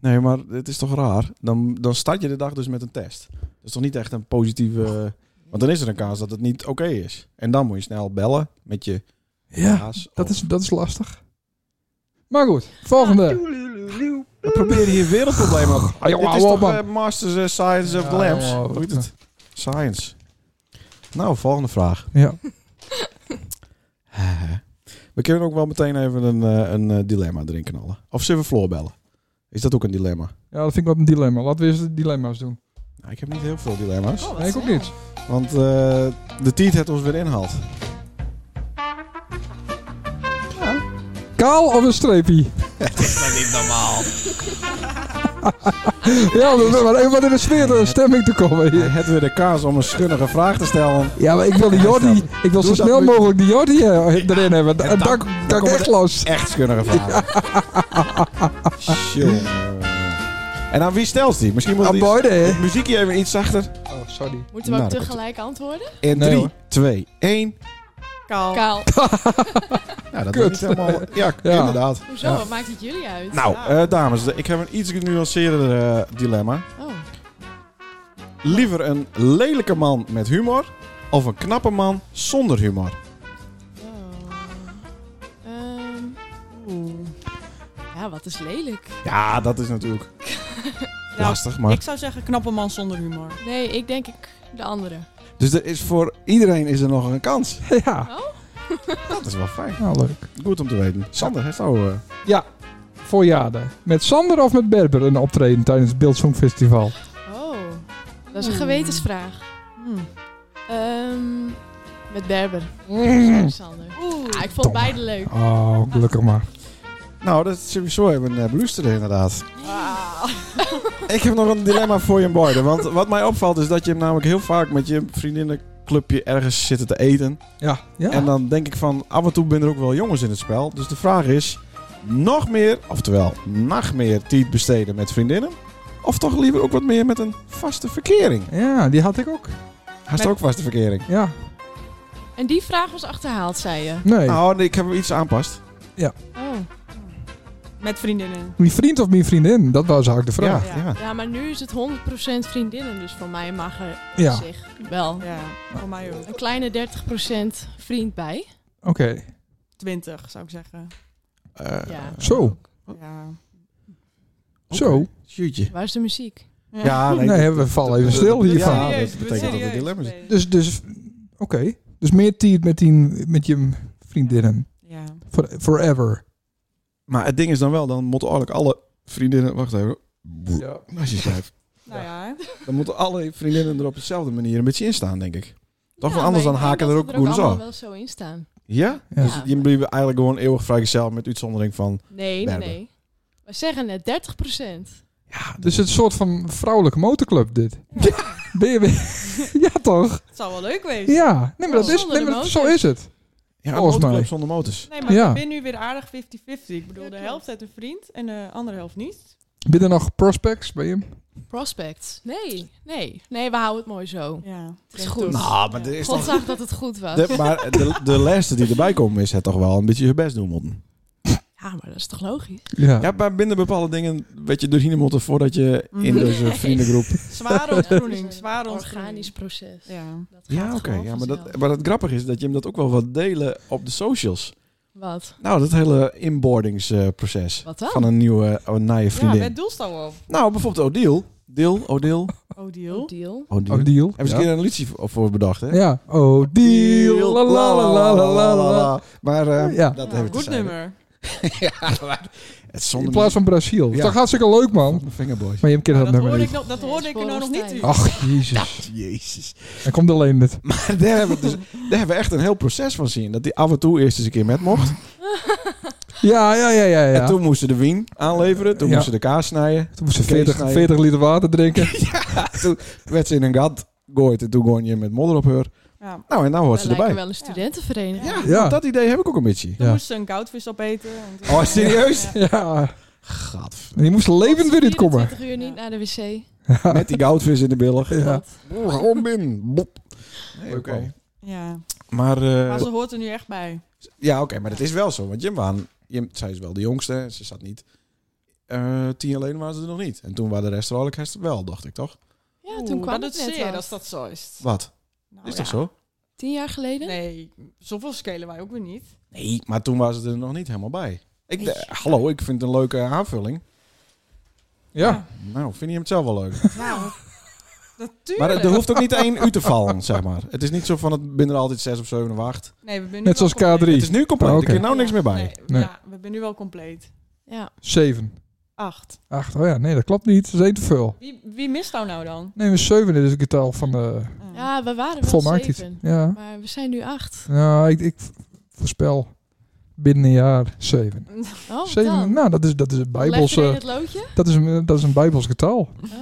B: Nee, maar het is toch raar? Dan, dan start je de dag dus met een test. Dat is toch niet echt een positieve... Want dan is er een kans dat het niet oké is. En dan moet je snel bellen met je
A: Ja,
B: baas.
A: dat
B: of-
A: is, dat is lastig. Maar goed, volgende.
B: We proberen hier wereldproblemen [laughs] op.
A: Ah, jongen,
B: Dit is
A: hou op,
B: toch
A: man.
B: eh, Masters eh, Science of
A: Ja,
B: the Lamps?
A: jongen,
B: Hoe
A: wat-
B: heet het? Science. Nou, volgende vraag.
A: [laughs]
B: Eh,
A: Ja.
B: We kunnen ook wel meteen even een, eh, een eh, dilemma erin knallen. Of zullen we Floor bellen? Is dat ook een dilemma?
A: ja, dat vind ik wel een dilemma. Laten we eens de dilemma's doen.
B: Nou, ik heb niet heel veel dilemma's.
A: Nee, ik ook niet. [laughs]
B: Want eh, de tiet heeft ons weer inhaald.
A: Kaal of een streepie? Dat is dan niet normaal. ja, maar even wat in de sfeer, de stemming te komen
B: Hij
A: hier.
B: had weer de kaas om een schunnige vraag te stellen.
A: Ja, maar ik
B: [laughs]
A: wil die Jordi, ik wil zo
B: Doe dat
A: snel
B: nu.
A: mogelijk die Jordi eh, erin hebben.
B: en dan-
A: En dan
B: dan
A: kan ik
B: komen
A: echt
B: de-
A: los.
B: Echt schunnige vraag. en aan wie stelt die? Misschien moet
A: Aan
B: het iets-
A: beide, hè?
B: het muziekje even iets zachter.
A: Oh, sorry.
F: Moeten we ook
B: Nou, dat
F: tegelijk antwoorden?
B: In
A: Nee,
B: 3,
A: hoor.
B: 2, 1.
E: Kaal.
F: Kaal.
B: Ja, dat
A: Kut.
B: is niet helemaal... Ja,
A: [laughs] Ja.
B: [laughs] inderdaad.
F: Hoezo?
B: Ja.
F: Wat maakt het jullie uit?
B: Nou,
E: Ja.
B: eh, dames, ik heb een iets genuanceerder eh, dilemma.
F: Oh.
B: Liever een lelijke man met humor of een knappe man zonder humor?
F: Oh. Ehm, oeh. Ja, wat is lelijk.
B: Ja, dat is
F: [laughs]
B: natuurlijk
E: Nou,
B: lastig. Maar...
E: Ik zou zeggen knappe man zonder humor.
F: Nee, ik denk ik de andere.
B: Dus er is voor iedereen is er nog een kans.
A: Ja,
B: Dat is wel fijn.
A: Oh. nou leuk.
B: Goed om te weten. Sander, heeft jou... eh,
A: Voorjaarden. Met Sander of met Berber een optreden tijdens het Beeld Songfestival?
F: Oh. Dat is een
E: Hmm.
F: gewetensvraag.
E: Hmm.
F: Ehm, met Berber. Sander.
E: Hmm. Oeh.
F: Ah, ik vond
A: Domme.
F: beide leuk.
A: Oh, gelukkig maar.
B: Nou, dat zullen we zo even eh, beluisteren inderdaad.
E: Ah.
B: Ik heb nog een dilemma voor je, Boyden. Want wat mij opvalt is dat je hem namelijk heel vaak met je vriendinnenclubje ergens zitten te eten.
A: Ja, ja.
B: En dan denk ik van, af en toe zijn er ook wel jongens in het spel. Dus de vraag is, nog meer, oftewel nog meer tijd besteden met vriendinnen? Of toch liever ook wat meer met een vaste verkering?
A: ja, die had ik ook.
B: Haast
E: Met-
B: ook vaste verkering?
A: Ja,
F: En die vraag was achterhaald, zei je.
A: nee.
B: Nou, ik heb hem iets aanpast.
F: Oh.
E: Met vriendinnen.
A: Mijn vriend of mijn vriendin? Dat was eigenlijk de vraag.
B: Ja, ja.
F: Ja, maar nu is het 100% vriendinnen, dus voor mij mag er
A: Ja,
F: op zich wel
E: Ja, voor mij ook.
F: een kleine 30% vriend bij.
A: oké.
E: 20 zou ik zeggen.
B: Eh,
F: Ja.
A: Zo,
E: Ja.
B: oké.
A: zo.
B: Shootje.
F: Waar is de muziek?
B: Ja, nee.
A: Nee, we vallen even stil hiervan.
B: Ja,
E: Serieus,
B: dat
E: doe het
B: betekent dat
E: serieus.
B: er dilemma's zijn.
A: Dus, dus oké. Dus meer tijd met, die, met je vriendinnen.
E: Ja.
A: For- forever.
B: Maar het ding is dan wel, dan moeten eigenlijk alle vriendinnen... Wacht even.
A: Ja.
B: Als je schrijft.
E: Nou ja.
B: Dan moeten alle vriendinnen er op dezelfde manier een beetje in staan, denk ik. Toch?
F: Ja,
B: Want anders
F: maar
B: dan
F: ik
B: haken
F: denk
B: er
F: dat
B: ook
F: we er ook
B: goeders
F: allemaal
B: af.
F: wel zo in staan.
B: Ja?
A: Ja.
B: Dus je blijft eigenlijk gewoon eeuwig vrijgezel met uitzondering van...
F: Nee, nee,
B: Berber.
F: nee. We zeggen net 30%.
B: Ja,
A: Dus het is een soort van vrouwelijke motorclub dit. [laughs] Ben je weer-
E: [laughs]
A: ja toch?
E: Het zou wel leuk wezen.
A: Ja. Nee, maar, dat is,
F: Zonder
A: nee,
F: de
A: maar zo
F: motors.
A: is het.
B: ja, een
A: volgens
B: motorclub
A: mij.
B: zonder motors.
E: Nee, maar
A: Ja.
E: ik ben nu weer aardig 50-50. Ik bedoel,
F: Ja,
E: de
F: klopt.
E: helft uit een vriend en de andere helft niet.
A: Ben er nog prospects bij hem?
F: Prospects. Nee, nee. Nee, we houden het mooi zo.
E: Ja.
F: Het is goed.
B: Nou, maar er is
F: God
B: toch...
F: zag dat het goed was.
B: De, maar de, de laatste die erbij komen is het toch wel een beetje je best doen moeten.
F: [laughs] Ja, maar dat is toch logisch?
A: Ja.
B: Ja, maar binnen bepaalde dingen weet je doorheen moeten voordat je in
F: Mm.
E: Mhm.
B: deze vriendengroep...
F: [laughs]
E: Zware ontgroening. Zware ontgroening.
F: Organisch proces.
E: Ja.
F: Dat gaat
B: Ja, oké.
F: gewoon
B: ja, maar,
F: vanzelf.
B: dat, maar het grappige is dat je hem dat ook wel wat delen op de socials.
F: Wat?
B: Nou, dat hele inboardingsproces
F: Wat dan?
B: van een nieuwe, oh, een nieuwe
E: Ja,
B: vriendin.
E: met doelstal op.
B: Nou, bijvoorbeeld Odile. Deel, Odile.
E: Oh,
F: Een
E: deal.
F: deal.
B: Odile.
A: Oh, deal.
B: Hebben ze
A: Ja.
B: een keer een liedje voor voor bedacht, hè?
A: Ja. Oh, deal. La la la la la la la.
B: Maar eh,
A: Ja.
B: dat
E: Ja,
B: hebben we
E: Nou, goed nummer.
B: ja, maar het is
A: In
B: zonder
A: plaats van Brazil.
B: Ja.
A: Dat hartstikke leuk, man.
B: van Fingerboy.
A: Maar je kent dat
E: Dat
A: nummer
E: hoorde ik,
A: niet.
E: nog, dat
F: Nee,
E: hoorde ik er nou nog niet.
F: Sporenstein.
E: uit.
A: Ach, jezus.
B: Nou, Jezus.
A: Hij komt alleen dit.
B: Maar daar hebben, we dus, daar hebben we echt een heel proces van zien. Dat hij af en toe eerst eens een keer met mocht.
A: Ja, ja, ja, ja. ja.
B: En toen moesten de wien aanleveren. Toen
A: Ja.
B: moesten de kaas snijden.
A: Toen moest ze
B: Kees
A: 40,
B: snijden.
A: 40 liter water
B: [laughs]
A: drinken.
B: Werd ze in een gat gooit. En toen gooi je met modder op haar.
E: Ja.
B: Nou, en nou hoort ze
F: Dat lijkt me
B: erbij.
F: wel een studentenvereniging.
E: Ja.
A: Ja.
B: Dat idee heb ik ook een beetje.
E: Dan
A: Ja.
E: moest ze een goudvis opeten. en toen-
B: Oh, serieus?
E: Ja.
A: [laughs] Ja.
B: Gadver.
A: En die moest levend weer uitkomen.
F: 20 uur niet naar de wc.
B: Met die goudvis in de billen.
A: Ja.
F: Wat?
B: Om in. Bop. Nee,
A: Leuk
B: oké.
A: wel.
E: Ja.
B: Maar, eh,
E: Maar ze hoort er nu echt bij.
B: ja, oké, maar dat is wel zo. Want Jim waren, Jim, zij is wel de jongste, ze zat niet. eh tien alleen waren ze er nog niet. En toen waren de rest er eigenlijk herst wel, dacht ik toch?
F: Ja, toen kwam
E: Oeh,
F: het
E: dat
F: net
E: is zeer
F: wat.
E: als dat zo is.
B: Wat?
E: Nou,
B: Is
E: ja.
B: dat zo?
F: Tien jaar geleden?
E: Nee, zoveel schelen wij ook weer niet.
B: Nee, maar toen waren ze er nog niet helemaal bij. Ik,
E: Nee.
B: eh, hallo, ik vind het een leuke aanvulling.
A: Ja.
B: Nou, vind je hem zelf
E: [laughs]
B: wel leuk?
E: Nou,
B: Maar
E: natuurlijk.
B: er hoeft ook niet één u te vallen, zeg maar. Het is niet zo van, het binnen er altijd zes of zeven of acht.
E: Nee, we zijn nu
A: Net
E: wel
A: zoals
E: compleet.
A: K3.
B: Het is nu compleet,
A: Oh,
B: er
A: oké.
B: kun je nou niks meer bij.
E: Nee,
A: Nee.
E: Ja, we zijn nu wel compleet.
F: Ja.
A: 7.
E: Acht.
A: 8. Oh ja, nee, dat klopt niet. Dat is één te veel.
E: Wie, wie mist nou nou dan?
A: Nee, maar 7 is het getal van de
E: Ah.
F: ja, we waren wel
A: volmaakt iets.
F: zeven.
A: Ja.
F: Maar we zijn nu acht.
A: Nou, ik, ik voorspel binnen een jaar 7.
F: [laughs] Oh, wat
A: 7
F: dan?
A: nou, dat is, dat is een
F: Leg
A: bijbels,
F: je er
A: eh,
F: in het loodje?
A: dat is een, dat is een bijbels getal.
F: Oh.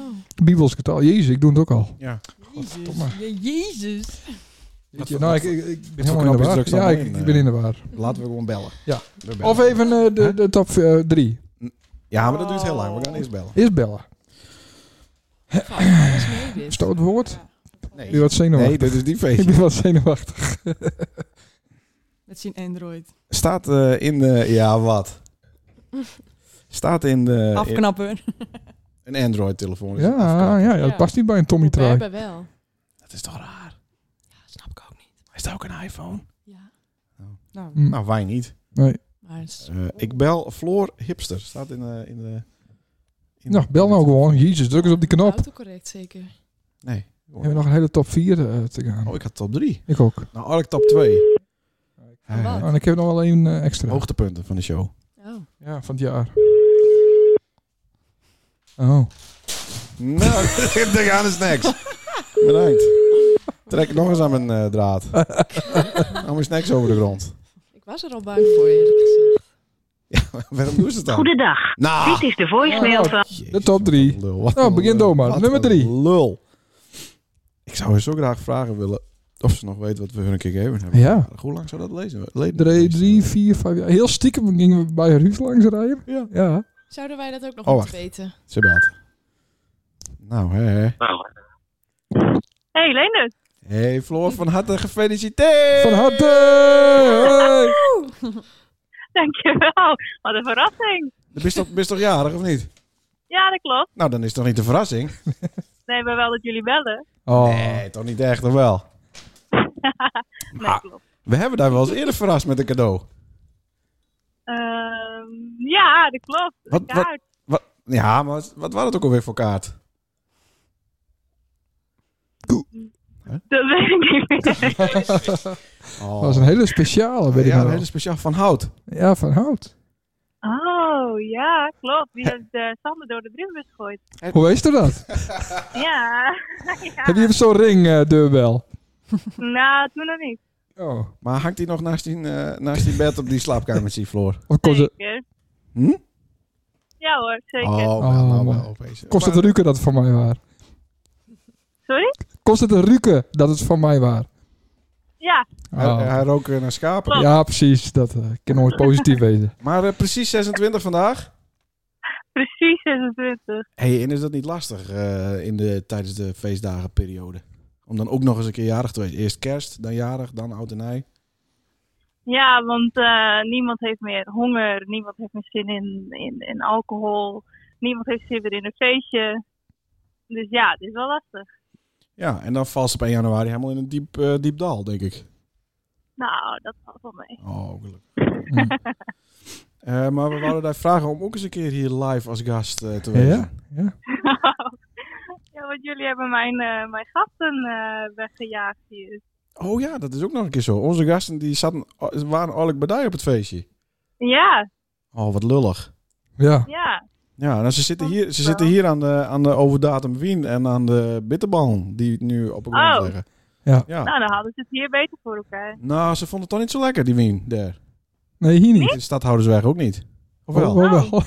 A: Bijbels getal. Jezus, ik doe het ook al.
B: Ja.
E: Jezus. Je- Jezus.
B: Wat
A: Ja,
B: voor-
A: nou, ik,
B: wat
A: ik, ik ben
B: voor
A: helemaal in de
B: knopjes
A: war.
B: drukt dan
A: Ja,
B: in,
A: ik, ik
B: eh?
A: ben in de war.
B: Laten we gewoon bellen.
A: Ja.
B: We bellen.
A: Of even eh, de, de top 3.
B: Ja, maar dat duurt heel lang. We gaan eerst bellen.
A: Eerst bellen.
F: Fuck, alles mee dit.
A: Stootwoord.
E: Ja.
A: Ik ben wat
B: Nee,
A: [laughs] zenuwachtig.
B: dit is die
A: ik
B: feestje.
A: ben wat zenuwachtig.
E: Met zijn Android.
B: Staat eh, in de... Ja, wat? Staat in de... in-
E: Afknappen.
B: een Android-telefoon. is het
A: Ja,
B: afknappen.
A: ja, dat
E: Ja.
A: past niet bij een Tommy
F: We
A: trui.
F: hebben wel.
B: Dat is toch raar?
F: Ja, snap ik ook niet.
B: Is dat ook een iPhone?
F: Ja.
E: Nou,
A: Hm.
B: Nou, wij niet.
A: Nee.
F: Maar het is-
B: Eh, ik bel Floor Hipster. Staat in de... In de in
A: Nou, bel nou gewoon. Jezus, druk eens op die knop.
F: autocorrect zeker.
B: Nee.
A: We hebben nog een hele top 4 eh, te gaan.
B: Oh, ik had top 3.
A: Ik ook.
B: Nou, had ik top 2.
F: wat?
A: Oh, en ik heb nog wel één eh, extra.
B: Hoogtepunten van de show.
F: Oh.
A: Ja, van het jaar. Oh.
B: Nou, [laughs] daar gaan de snacks. Bedankt. Trek nog eens aan mijn eh, draad. Aan mijn snacks over de grond. [laughs]
F: Ik was er al bang voor eerlijk gezegd.
B: Waarom doen ze het dan?
G: Goedendag.
B: Nou, Oh,
G: Dit is de voicemail
A: Nou,
G: van...
B: jezus,
A: De top
B: wat
A: drie.
B: een lul, wat
A: Nou,
B: een
A: begin
B: lul,
A: door maar.
B: wat
A: Nummer
B: een
A: drie.
B: Lul. Ik zou je zo graag vragen willen of ze nog weet wat we hun een keer gegeven hebben.
A: Ja.
B: Hoe lang zou dat lezen? Leden-
A: Drie, drie, vier, vijf jaar. Heel stiekem gingen we bij Ruud langs rijden.
B: Ja.
A: Ja.
F: Zouden wij dat ook nog
B: Oh,
F: moeten
B: wacht.
F: weten?
B: Ze belt. Nou, hè. hè.
G: Hey Leendert.
B: Hey Floor, van harte gefeliciteerd!
A: Van harte! Hey!
G: [laughs] Dankjewel. Wat een verrassing.
B: Bist toch, bist toch jarig of niet?
G: Ja, dat klopt.
B: Nou, dan is het toch niet een verrassing?
G: Nee, maar wel dat jullie bellen.
A: Oh.
B: Nee, toch niet echt, of wel?
G: Nee, klopt.
B: We hebben daar wel eens eerder verrast met een cadeau.
G: Ehm, ja, dat klopt.
B: Wat-
G: Een
B: wat-
G: kaart.
B: Wat, ja, maar wat, wat was het ook alweer voor kaart?
G: Dat weet ik niet meer.
B: Oh.
A: Dat was een hele speciale, [laughs] weet
B: ja,
A: ik nog
B: een
A: wel.
B: hele speciaal van hout.
A: Ja, van hout.
G: Oh, ja, klopt. Die heeft eh, Sander door de drimbus gegooid.
A: Hoe wist u dat?
G: [laughs] Ja. ja.
A: Heb je even zo'n eh, ringdeurbel?
G: Nou, toen nog niet.
A: oh.
B: Maar hangt die nog naast die, eh, naast die bed op die slaapkamertje, Floor?
A: Of kost het,
G: Zeker.
B: Hm?
G: Ja hoor, zeker.
B: wel,
A: Oh,
B: wel,
A: man.
B: wel, opeens.
A: kost het een ruke dat het van mij waar?
G: Sorry?
A: Kost het een ruke dat het van mij waar?
G: Ja,
B: Hij,
A: Oh.
B: hij rook eh, naar schapen.
A: Ja, precies. Dat eh, kan nooit
G: [laughs]
A: positief wezen.
B: Maar eh, precies 26 vandaag.
G: precies 26.
B: hey, en is dat niet lastig eh, in de, tijdens de feestdagenperiode? Om dan ook nog eens een keer jarig te wezen. Eerst kerst, dan jarig, dan oud en ei.
G: Ja, want eh, niemand heeft meer honger. Niemand heeft meer zin in, in, in alcohol. Niemand heeft zin meer in een feestje. Dus ja, het is wel lastig.
B: Ja, en dan valt ze op 1 januari helemaal in een diep, eh, diep dal, denk ik.
G: Nou, dat valt wel mee.
B: Oh, gelukkig.
A: Hm.
B: Eh, maar we wouden daar vragen om ook eens een keer hier live als gast eh, te
A: Ja,
B: wezen.
A: ja.
G: [laughs] ja, want jullie hebben mijn, eh, mijn gasten eh, weggejaagd hier.
B: Oh ja, dat is ook nog een keer zo. Onze gasten die zaten, eh, waren oorlijk bedij op het feestje.
G: Ja,
B: Oh, wat lullig.
A: Ja.
G: ja.
B: Ja, nou, ze zitten hier, ze zitten hier aan, de, aan de overdatum wien en aan de bitterballen die nu op elkaar
G: Oh.
B: liggen.
A: Ja.
B: ja.
G: Nou, dan hadden ze het hier beter voor elkaar.
B: Nou, ze vonden het toch niet zo lekker, die wien daar.
A: Nee, hier niet.
B: In de stadhoudersweg ook niet. Of
A: Oh,
B: wel?
A: oh, wel.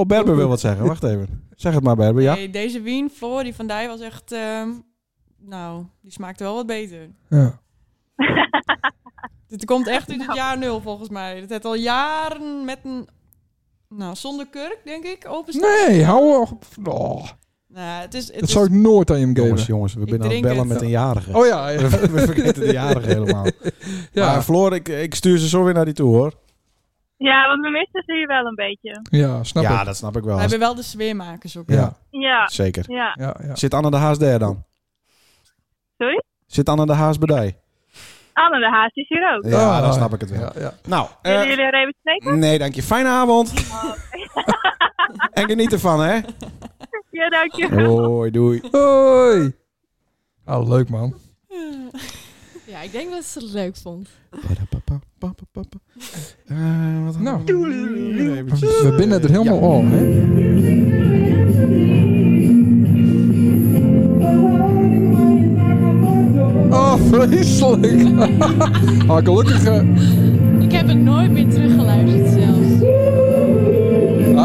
B: Oh, Berber wil wat zeggen. Wacht even. Zeg het maar, Berber. Ja.
E: Nee, deze wien, Floor, die van Dij was echt... ehm, nou, die smaakte wel wat beter.
A: Ja.
E: [laughs] Dit komt echt uit het
G: Nou.
E: jaar nul, volgens mij. Het heeft al jaren met een... Nou, zonder kurk, denk ik, openstaan.
A: Nee, hou op. Oh,
E: Nou, het is, het
A: dat
E: is,
A: zou ik nooit aan hem
B: Jongens,
A: geven.
B: jongens, we
E: Ik
B: zijn aan het
E: drink
B: bellen
E: het.
B: met een jarige.
A: Oh ja, ja.
B: [laughs] We, we vergeten de
A: [laughs]
B: jarige helemaal. Ja.
A: Ja,
B: Floor, ik, ik stuur ze zo weer naar die toe, hoor.
G: Ja, want we misten ze hier wel een beetje.
A: ja snap
B: ja,
A: ik.
B: dat snap ik wel.
E: we hebben wel de sfeermakers ook.
A: Ja,
G: Ja,
B: Zeker.
G: ja.
A: ja, ja.
B: Zit Anne de Haas daar dan?
G: Sorry?
B: Zit Anne de Haas bedij?
G: Anne de Haas is hier ook.
B: Ja, dan snap ik het wel.
A: Ah. Ja, ja.
B: Nou,
G: Willen
B: eh,
G: jullie er even sneken?
B: nee, dank je. Fijne avond. en geniet ervan, hè?
G: Ja, dankjewel.
B: Hoi, doei. Oh,
A: Hoi. Ah, leuk man.
F: [laughs] Ja, ik denk dat ze het leuk vond.
B: Eh, wat
A: Nou.
B: Eventjes.
A: We binnen er helemaal om, hè? Oh, vreselijk. [laughs] Ah, gelukkig. eh,
F: Ik heb het nooit meer teruggeluisterd zelfs.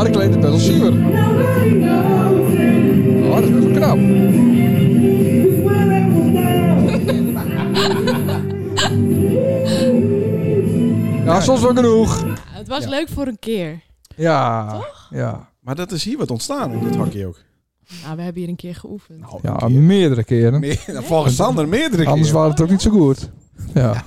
A: Haar kleed is best wel zuur.
G: Nou,
A: Oh, dat is best wel knap. Ja, soms wel genoeg.
F: Het was leuk voor een keer.
A: Ja. Ja.
B: Maar dat is hier wat ontstaan in dit hakje ook.
F: Nou, we hebben hier een keer geoefend. [laughs]
B: Nou, een
A: Ja,
B: keer.
A: meerdere keren.
B: Meer- volgens Sander meerdere
A: Anders
B: keer.
A: waren het ook niet zo goed. Ja.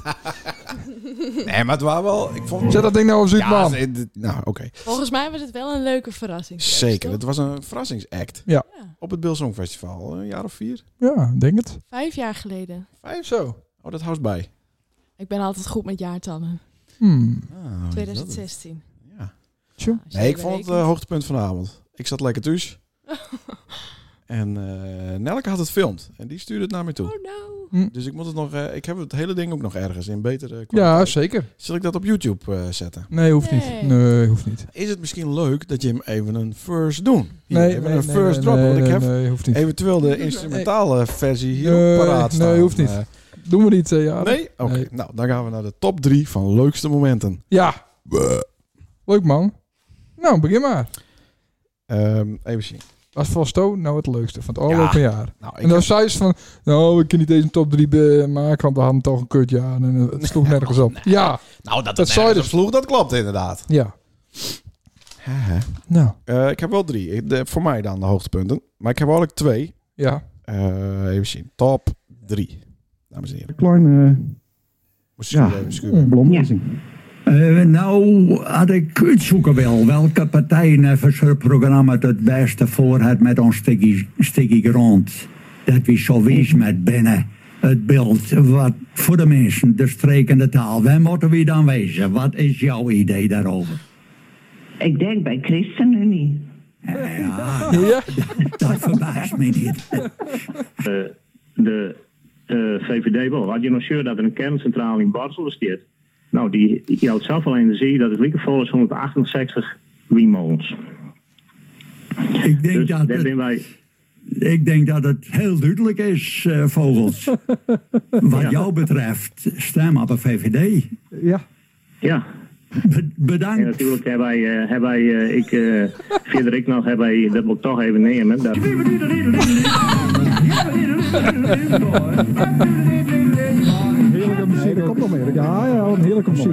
B: Nee, maar het was wel... Ik vond
A: Zet dat ding nou op
B: ja,
A: Zuidman.
B: ze- dit- Nou, oké.
F: Volgens mij was het wel een leuke verrassing.
B: Zeker. Het was een verrassingsact.
A: Ja.
F: Ja.
B: Op het Bill Song Festival. Een jaar of vier.
A: Ja, denk het.
F: Vijf jaar geleden.
B: Vijf.
A: Zo.
B: Oh, dat houdt bij.
F: Ik ben altijd goed met jaartallen.
A: Hmm.
B: Ah,
F: 2016.
B: dat- Ja.
A: Tjoe.
F: Nou, Als je
B: Nee, ik
F: dat
B: vond het
F: berekent.
B: eh, hoogtepunt van de avond. Ik zat lekker thuis. en eh, Nelke had het filmd. En die stuurde het naar me toe.
F: Oh no.
B: Dus ik moet het nog... eh, ik heb het hele ding ook nog ergens in betere
A: Ja,
B: kwaliteit.
A: zeker.
B: Zal ik dat op YouTube eh, zetten?
A: Nee, hoeft
F: Nee.
A: niet. Nee, hoeft niet.
B: Is het misschien leuk dat je hem even een first doet? Hier,
A: Nee,
B: even
A: nee,
B: een
A: nee,
B: first
A: nee,
B: drop.
A: Nee,
B: want ik
A: nee,
B: heb
A: nee, hoeft niet.
B: eventueel de instrumentale versie hier
A: Nee,
B: op paraat staan.
A: nee, hoeft niet.
B: Eh,
A: Doen we niet, eh, ja.
B: nee? Oké,
A: Nee.
B: nou dan gaan we naar de top drie van leukste momenten.
A: Ja. Leuk, man. Nou, begin maar.
B: Ehm, even zien.
A: Was voor Sto nou het leukste van het afgelopen jaar?
B: Nou, ik
A: En dan
B: heb-
A: zei ze van, nou, ik kan niet eens een top 3 maken, want we hadden toch een kutjaar en eh, het
B: [laughs]
A: sloeg nergens op. Ja,
B: nou, dat,
A: dat
B: dat
A: zei
B: zei
A: dus.
B: vloeg, dat klopt inderdaad.
A: ja. Nou,
B: Eh, ik heb wel drie. Ik- de- voor mij dan de hoogtepunten. Maar ik heb wel ook twee.
A: ja.
B: Eh, even zien. Top drie. Dames en heren.
H: kleine
B: Moest je
H: Ja.
B: even schuren.
H: bloemlezing. nou had ik uitzoeken wil welke partij net voor zo'n programma het het beste voor had met ons sticky, sticky grond. Dat we zo wees met binnen. Het beeld, wat voor de mensen, de streek en de taal. Waar moeten we dan wezen? Wat is jouw idee daarover?
I: Ik denk bij ChristenUnie.
H: Ja,
A: Ja,
H: dat verbaast me niet.
J: Eh, de eh, VVD wil. Had je nog zeer dat er een kerncentrale in Basel bestaat? Nou, die, die houdt zoveel energie dat het lieke vol is 168 windmolens.
H: Ik denk
J: Dus
H: dat
J: daar
H: het
J: zijn wij.
H: Ik denk dat het heel duidelijk is, eh, Vogels. Wat jou betreft, stem op een VVD.
A: ja.
J: Ja,
H: Be-
J: en
H: bedankt.
J: natuurlijk hebben wij. eh, hebben wij eh, ik, eh Frederik nog, hebben wij, dat moet ik toch even nemen. Dat,
H: Heerlijke muziek, er komt nog meer. Ja, ja, een heerlijke muziek.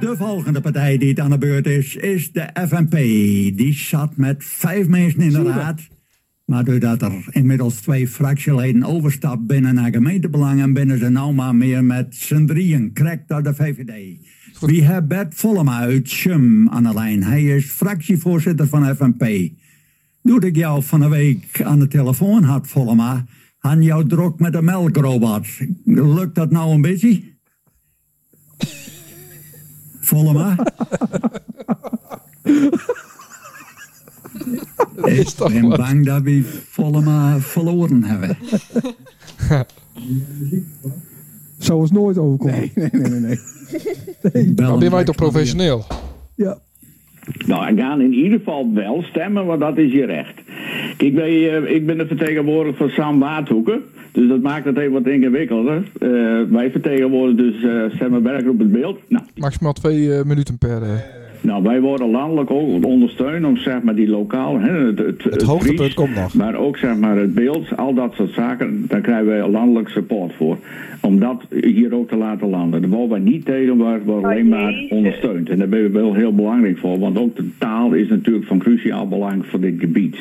H: de volgende partij die het aan de beurt is, is de FNP. Die zat met vijf mensen in de raad. Maar doordat er inmiddels twee fractieleden overstapt binnen naar gemeentebelangen, binnen ze nou maar meer met z'n drieën. Krek door de VVD. Wie hebben Bert Vollema uit Chum aan de lijn? Hij is fractievoorzitter van FNP. Doe ik jou van de week aan de telefoon had, Vollema, aan jouw drok met de melkrobot. Lukt dat nou een beetje? Vollema? Ik
A: toch
H: ben
A: wat?
H: bang dat we Vollema verloren hebben.
K: Zou ons nooit overkomen.
B: Nee, nee, nee.
H: [laughs]
B: nee.
A: Dan
H: Dan
A: ben wij toch professioneel?
K: Ja.
J: Nou, en gaan in ieder geval wel stemmen, want dat is je recht. Kijk, wij, eh, ik ben de vertegenwoordiger van Sam Waardhoeken. Dus dat maakt het even wat ingewikkelder. Eh, wij vertegenwoordigen dus eh Stemmenberg op het beeld. Nou,
A: Maximaal twee eh, minuten per... eh,
J: nou, wij worden landelijk ook ondersteund om zeg maar die lokaal... Hè, het, het,
B: Het hoogtepunt
J: Fries,
B: komt nog.
J: Maar ook zeg maar het beeld, al dat soort zaken, daar krijgen wij landelijk support voor. Om dat hier ook te laten landen. Daar worden wij niet tegen, maar we worden alleen maar ondersteund. En daar ben ik wel heel belangrijk voor, want ook de taal is natuurlijk van cruciaal belang voor dit gebied.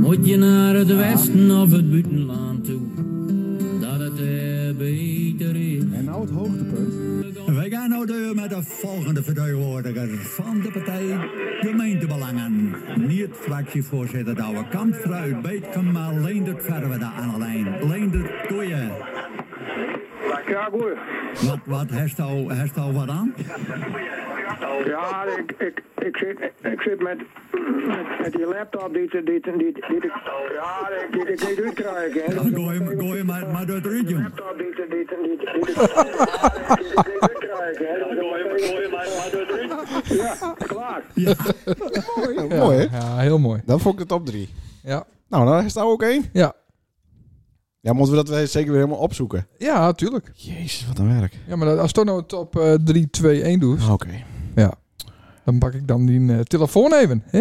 K: Moet je naar het westen of het buitenland toe? Dat het
H: eh,
K: beter is.
B: En nou het hoogtepunt.
H: We gaan nou door met de volgende vertegenwoordiger van de partij Gemeentebelangen. Niet fractievoorzitter Douwe Kampfruit, Beetken, maar Leendert Verwe daar aan de lijn. Leendert, doe je.
J: Ja, goed.
H: Wat, wat, heeft al, heeft al wat aan?
J: Ja, ik, ik, ik, zit, ik zit met, met die laptop die, die, die, die, die, die, ja, die, die, die ik niet uitkrijg. hè.
H: Dan gooi je, gooi je maar, maar door het riet, jong.
J: laptop die, die, die, die, die, die, die- ja, die- die ik niet uitkrijg, hè. Ja, klaar.
A: ja.
B: Mooi, hè?
A: Ja, heel mooi.
B: Dat vond ik de top drie.
A: Ja.
B: Nou, daar is nou ook één.
A: Ja.
B: Ja, moeten we dat weer- zeker weer helemaal opzoeken.
A: Ja, tuurlijk.
B: Jezus, wat een werk.
A: Ja, maar als Tono het op eh 3, 2, 1 doet,
B: Oké.
A: dan pak ik dan die eh, telefoon even. Hè?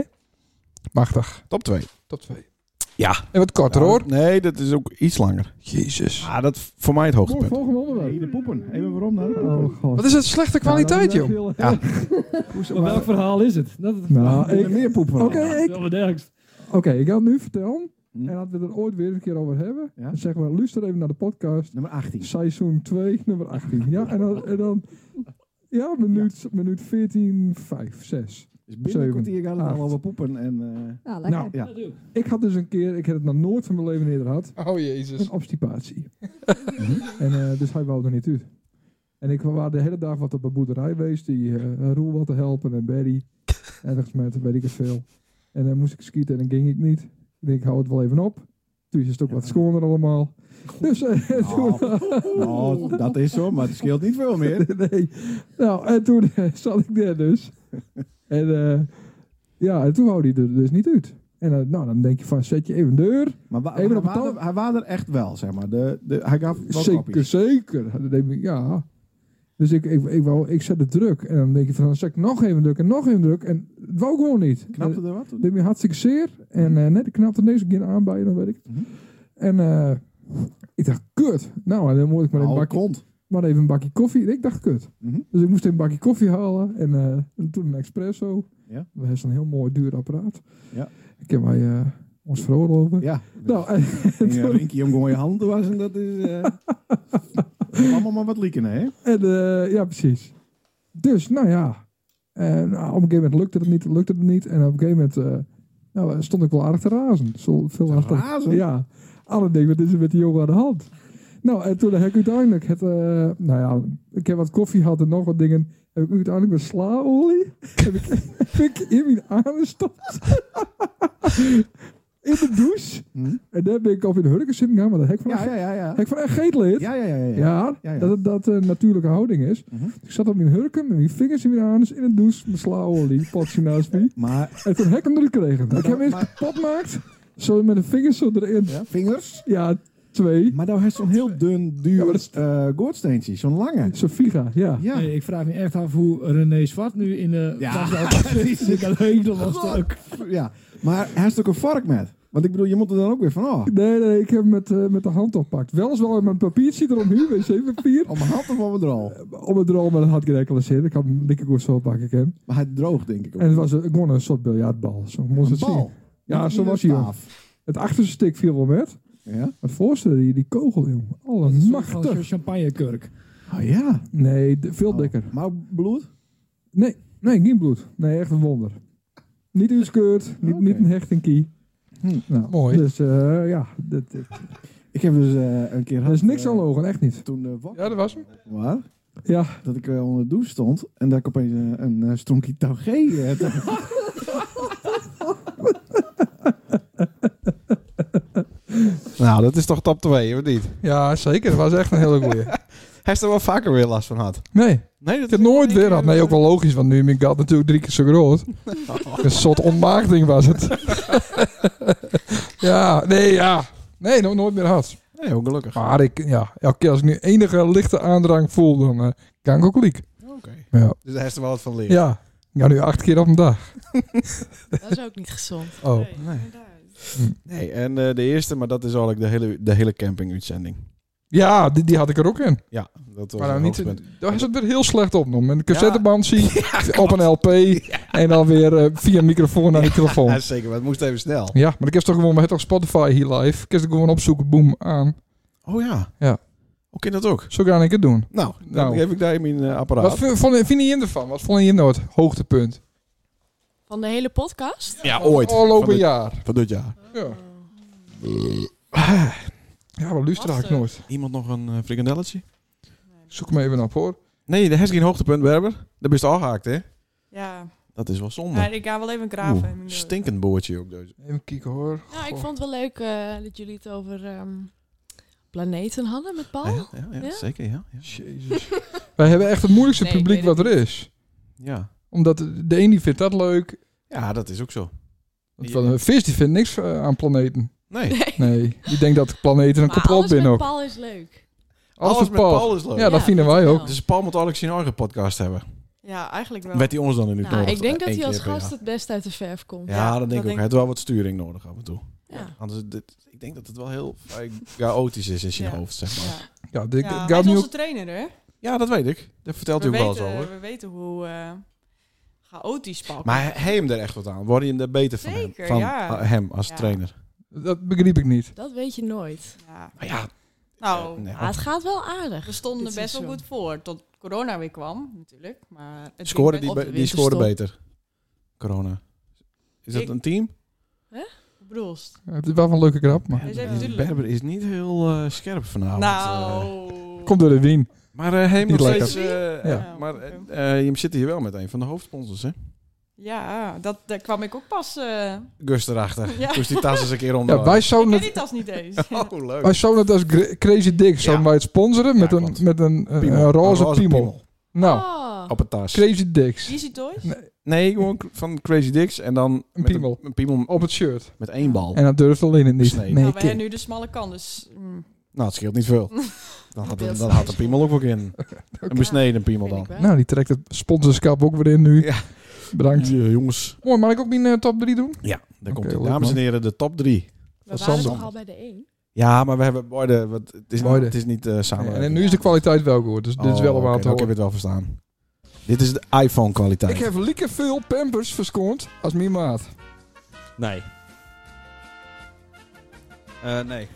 A: Machtig.
B: Top twee.
A: Top 2.
B: Ja.
A: En wat korter hoor.
B: Nee, dat is ook iets langer.
A: Jezus.
B: Ah, dat v- voor mij het hoogtepunt.
K: Volgende onderwerp.
B: de poepen. Even waarom
K: Oh god.
A: Wat Nou, is het slechte kwaliteit, joh?
B: Ja.
K: Maar welk verhaal is het? Dat, Nou, ik- meer poepen. Oké, ik... Oké, ik ga het nu vertellen.
L: Hm.
A: En dat we het er ooit weer een keer over hebben. Dan zeggen we, luister even naar de podcast.
L: Nummer 18.
A: Seizoen 2, nummer 18. Ja, en dan... En dan ja, minuut, minuut 14, 5, 6.
L: Dus binnen een kwartier gaat het allemaal poepen. En, eh,
M: Ah, lekker.
A: Nou,
L: Ja.
A: ik had dus een keer, ik heb het nog nooit van mijn leven eerder gehad.
L: Oh, jezus. Mhm.
A: Een
L: [laughs]
A: obstipatie. en, eh, dus hij wou er niet uit. En ik was de hele dag wat op een boerderij geweest, die eh Roel wat te helpen en
L: [laughs]
A: Berry. Ergens met, weet ik het veel. En dan moest ik skieten en dan ging ik niet. Ik denk, ik hou het wel even op. Toen is het ook wat schoner allemaal.
L: [laughs]
A: Dus eh, toen...
L: nou, dat is zo, maar het scheelt niet veel meer.
A: [laughs] nee. Nou, en toen eh, zat ik daar dus. En eh, ja, en toen houde hij er dus niet uit. En eh, nou, dan denk je van, zet je even deur.
L: Maar wa-
A: even
L: hij
A: op het
L: wa- hij was er echt wel, zeg maar. De, de, hij gaf wel
A: Zeker,
L: kopjes.
A: zeker. Dat denk ik, ja. Dus ik, ik, ik, wou, ik zet het druk. En dan denk je van, dan zet ik nog even druk en nog even druk. En het wou gewoon niet.
L: Knapte er wat? Mhm.
A: Dat deed me hartstikke zeer. En eh net, ik knapte deze keer aan bij, dan weet ik het. En eh, ik dacht, kut. Nou, dan moet ik maar een
L: Nou,
A: bakje... Maar even een bakje koffie. Ik dacht, kut.
L: Mhm.
A: Dus ik moest een bakje koffie halen. En, eh, en toen een espresso.
L: Ja.
A: We hebben zo'n heel mooi duur apparaat.
L: Ja.
A: Ik heb mij eh, ons veroorloven.
L: Ja. eh,
A: Nou,
L: [laughs]
A: en,
L: En ja, Rinkie om gewoon je hand te wassen, dat is...
A: [laughs]
L: eh, allemaal maar wat lieken, hè?
A: En, eh, ja, precies. Dus, nou ja. En, nou, op een gegeven moment lukte het niet, lukte het niet. En op een gegeven moment eh, nou, stond ik wel aardig te razen. Zo, veel achter-
L: razen?
A: Ja. Alle dingen, wat is er met die jongen aan de hand? Nou, en toen heb ik uiteindelijk het, eh, nou ja, ik heb wat koffie gehad en nog wat dingen. Heb ik uiteindelijk met slaolie,
L: [laughs]
A: heb ik, heb ik in mijn armen gestopt. in de douche. En daar ben ik over in de hurken zitten gegaan, maar dat hek van,
L: Hm? Ja, ja, ja, ja.
A: Hek van echt geetlid.
L: Ja, ja, ja. ja, ja.
A: Ja,
L: Ja, Mhm. ja.
A: dat het dat een natuurlijke houding is. Dus ik zat op mijn hurken, met mijn vingers in mijn anus, in een douche, mijn
L: [laughs]
A: slaolie, potje naast me.
L: Maar...
A: En toen heb ik hem eruit gekregen. ik heb hem eerst kapot maakt, zo met de vingers zo erin.
L: Vingers?
A: Ja, twee.
L: Maar nou heeft zo'n heel dun, duur eh goordsteentje. Zo'n lange.
A: Zo'n Viga, ja.
N: Nee, ik vraag me echt af hoe eh, René Zwart nu in de
L: [laughs] Ja,
N: tas
L: precies.
N: zit. [laughs] Ik had helemaal stuk.
L: Ja, maar hij heeft ook een vark met. Want ik bedoel, je moet er dan ook weer van af.
A: Nee, nee, ik heb hem met, eh, met de hand oppakt. Wel eens wel met mijn papiertje eromheen, wc-papier.
L: Om mijn hand of om het droog?
A: Eh, Om het droog, maar dat had ik er enkel eens in. Ik had hem dikke koers zo pakken, Ken.
L: Maar hij droog, denk ik ook.
A: En het was een- gewoon een soort biljartbal. Zo moest het
L: bal?
A: zien. Ja,
L: Niet
A: zo
L: een
A: was hij. joh.
L: staaf.
A: Het achterste stik viel wel met.
L: Ja?
A: Maar het voorste, die, die kogel, jongen. Allemachtig.
N: Zo'n champagnekurk.
L: Ah ja. Oh.
A: Nee, d- veel dikker.
L: Maar bloed?
A: Nee, nee, geen bloed. Nee, echt een wonder. Niet uitgekeurd, niet, niet een hechtingkie. Nou,
L: Mooi.
A: Dus eh, ja, dat, dat-
L: Ik heb dus eh, een keer...
A: er is niks aan logen, echt niet.
L: Toen eh,
A: Ja, dat was hem.
L: Waar?
A: Ja.
L: Dat ik eh, onder de douche stond en dat ik opeens eh, een eh, stronkie touw G heb. [laughs]
B: Nou, dat is toch top 2,
L: [laughs]
B: of niet?
A: Ja, zeker. Dat was echt een hele goeie.
B: Hij is er wel vaker weer last van had.
A: Nee.
B: Nee, dat
A: ik heb nooit weer had. Nee, ook wel logisch, want nu is mijn gat natuurlijk drie keer zo groot.
B: [laughs]
A: Een soort ontmaagding was het. ja, nee, ja. Nee, nog nooit meer had.
B: Nee, hoe gelukkig.
A: Maar ik, ja, elke keer als ik nu enige lichte aandrang voel, dan eh kan ik ook liek.
B: Oké.
A: Ja.
B: Dus daar is er wel wat van leren.
A: Ja, ik ga nu acht keer op een dag.
F: [laughs] Dat is ook niet gezond.
A: Oh.
B: Nee. Nee, en eh, de eerste, maar dat is eigenlijk de hele, de hele camping-uitzending.
A: Ja, die, die had ik er ook in.
B: Ja, dat was
A: Maar dan
B: een
A: niet,
B: hoogtepunt.
A: daar is het weer heel slecht opgenomen. Met een
B: [laughs]
A: cassetteband zie je, op een LP en dan weer eh, via een microfoon naar die telefoon.
B: [laughs] Ja, zeker, maar het moest even snel.
A: Ja, maar ik heb toch gewoon, we hebben toch Spotify hier live. Ik heb het gewoon opzoeken, boom, aan.
B: Oh ja,
A: Ja.
B: hoe kan dat ook?
A: Zo ga ik het doen.
B: Nou, dan
A: Nou.
B: heb ik daar in mijn eh, apparaat.
A: Wat vind, vond- vind je ervan? Wat vond je nou het hoogtepunt?
F: Van de hele podcast?
B: Ja, ooit.
A: Afgelopen
B: Van dit-
A: jaar.
B: Van dit jaar.
A: Ja. Ja, wat luister
F: Was
A: ik nooit.
B: Iemand nog een eh, frikandelletje?
A: Zoek hem even op hoor.
B: Nee, daar is geen hoogtepunt, Berber. Daar ben je gehaakt, hè?
E: Ja.
B: Dat is wel zonde.
E: ja, ik ga wel even graven.
B: Oeh,
E: in mijn deur.
B: stinkend boordje ook. Dus.
A: Even kijken hoor.
F: Nou, ik vond het wel leuk eh, dat jullie het over ehm, planeten hadden met
E: Oh,
F: Paul.
B: Ja, ja, ja, zeker, ja. ja.
A: Jezus. Wij hebben echt het moeilijkste
F: Nee, ik
A: publiek wat er is.
B: Ja.
A: Omdat de een die vindt dat leuk.
B: Ja, dat is ook zo.
A: Want Een vis die vindt niks eh, aan planeten.
B: Nee.
A: Nee, die denkt dat planeten een
F: Maar
A: complot
F: alles
A: binnen
F: met
A: ook.
F: Paul is leuk.
A: Alles
B: Alles
A: met
B: met Paul is leuk.
A: Ja, dat
F: Ja,
A: vinden
F: dat
A: wij ook.
F: wel.
B: Dus Paul moet eigenlijk zijn eigen podcast hebben.
E: Ja, eigenlijk wel.
B: Werd hij ons dan in uw
F: Nou, ik denk dat hij als gast het best uit de verf komt.
B: Ja, dat denk ik ook. Hij heeft wel wat sturing nodig af en toe.
F: Ja.
B: Anders, dit, ik denk dat het wel heel vrij chaotisch is in zijn
E: Ja.
B: hoofd, zeg maar.
A: Ja,
E: Ja,
A: dit, het
E: hij
A: gaat
E: is
A: nu
E: onze
A: ook-
E: trainer, hè?
B: Ja, dat weet ik. Dat vertelt
E: we
B: u ook wel
E: weten,
B: eens over.
E: We weten hoe eh, chaotisch Paul
B: Maar hij hij hem er echt wat aan. Word je hem er beter van hem?
E: Zeker,
B: Van
E: ja.
B: eh, hem als
E: Ja.
B: trainer.
A: Dat begreep ik niet.
F: Dat weet je nooit.
E: Ja.
B: ja.
E: Nou,
B: nee.
F: Maar het gaat wel aardig.
E: we stonden
F: dit
E: best wel goed
F: seizoen.
E: voor. Tot corona weer kwam, natuurlijk. Maar het ging
B: Scoren
E: best-
B: die,
E: op
B: be-
E: de
B: die scoren
E: winterstop.
B: beter. Corona. Is
E: Ik-
B: dat een team?
E: Hoe bedoel je?
B: Ah,
A: Het is wel een leuke grap, maar...
E: Hij is even
B: Eh,
E: duidelijk.
B: Berber is niet heel eh, scherp vanavond. eh.
E: Nou,
A: Komt door de wien.
B: maar eh hey,
A: Niet
B: nog
A: lekker.
B: steeds, eh,
A: Ja.
F: Oh,
B: eh, maar eh, eh, je zit hier wel met een van de hoofdsponsors, hè?
E: ja, dat, daar kwam ik ook pas... eh
B: Gus erachter.
E: Ja.
B: Dus die tas eens een keer onder.
A: Ja, wij zouden
E: ik ken
A: het,
E: die tas niet eens.
B: [laughs] Oh, leuk.
A: wij zouden het als gra- Crazy Dick zouden wij het sponsoren met, een, met een, een,
B: Piemel.
A: een roze,
B: Een roze
A: piemel.
B: piemel.
A: Nou,
E: Oh.
B: Op een tas.
A: Crazy Dicks.
E: Easy Toys?
B: Nee, gewoon k- van Crazy Dicks en dan een
A: piemel.
B: Een, piemel
A: Op het shirt.
B: met één bal.
A: En dat durft alleen het niet.
B: Snee.
A: Nee,
E: nou, wij
A: kind.
E: hebben nu de smalle kan, dus... mm.
B: Nou, het scheelt niet veel.
F: [laughs]
B: Dan had,
E: Beeld
B: dan had de piemel ook wel
A: [laughs]
B: in. Een besneden piemel
F: Vind ik
B: dan.
F: wel.
A: Nou, die trekt het sponsorschap ook weer in nu.
B: Ja.
A: Bedankt.
B: Ja, jongens.
A: Mooi, mag ik ook mijn eh, top 3 doen?
B: Ja, daar komt
A: leuk,
B: ie. Dames en
A: man.
B: heren, de top drie.
F: We waren
A: Sander.
F: toch al bij de één.
B: Ja, maar we hebben beide, wat, het, is,
A: Beide.
B: het is niet eh samen.
A: en nu is de kwaliteit wel goed, dus dit is wel
B: Oh,
A: een aan
B: oké,
A: te
B: nou, Ik heb
A: horen.
B: het wel verstaan. Dit is de iPhone kwaliteit.
A: Ik heb lekker veel pampers verskoond als mijn maat.
M: Nee.
B: Eh,
M: nee.
B: nee,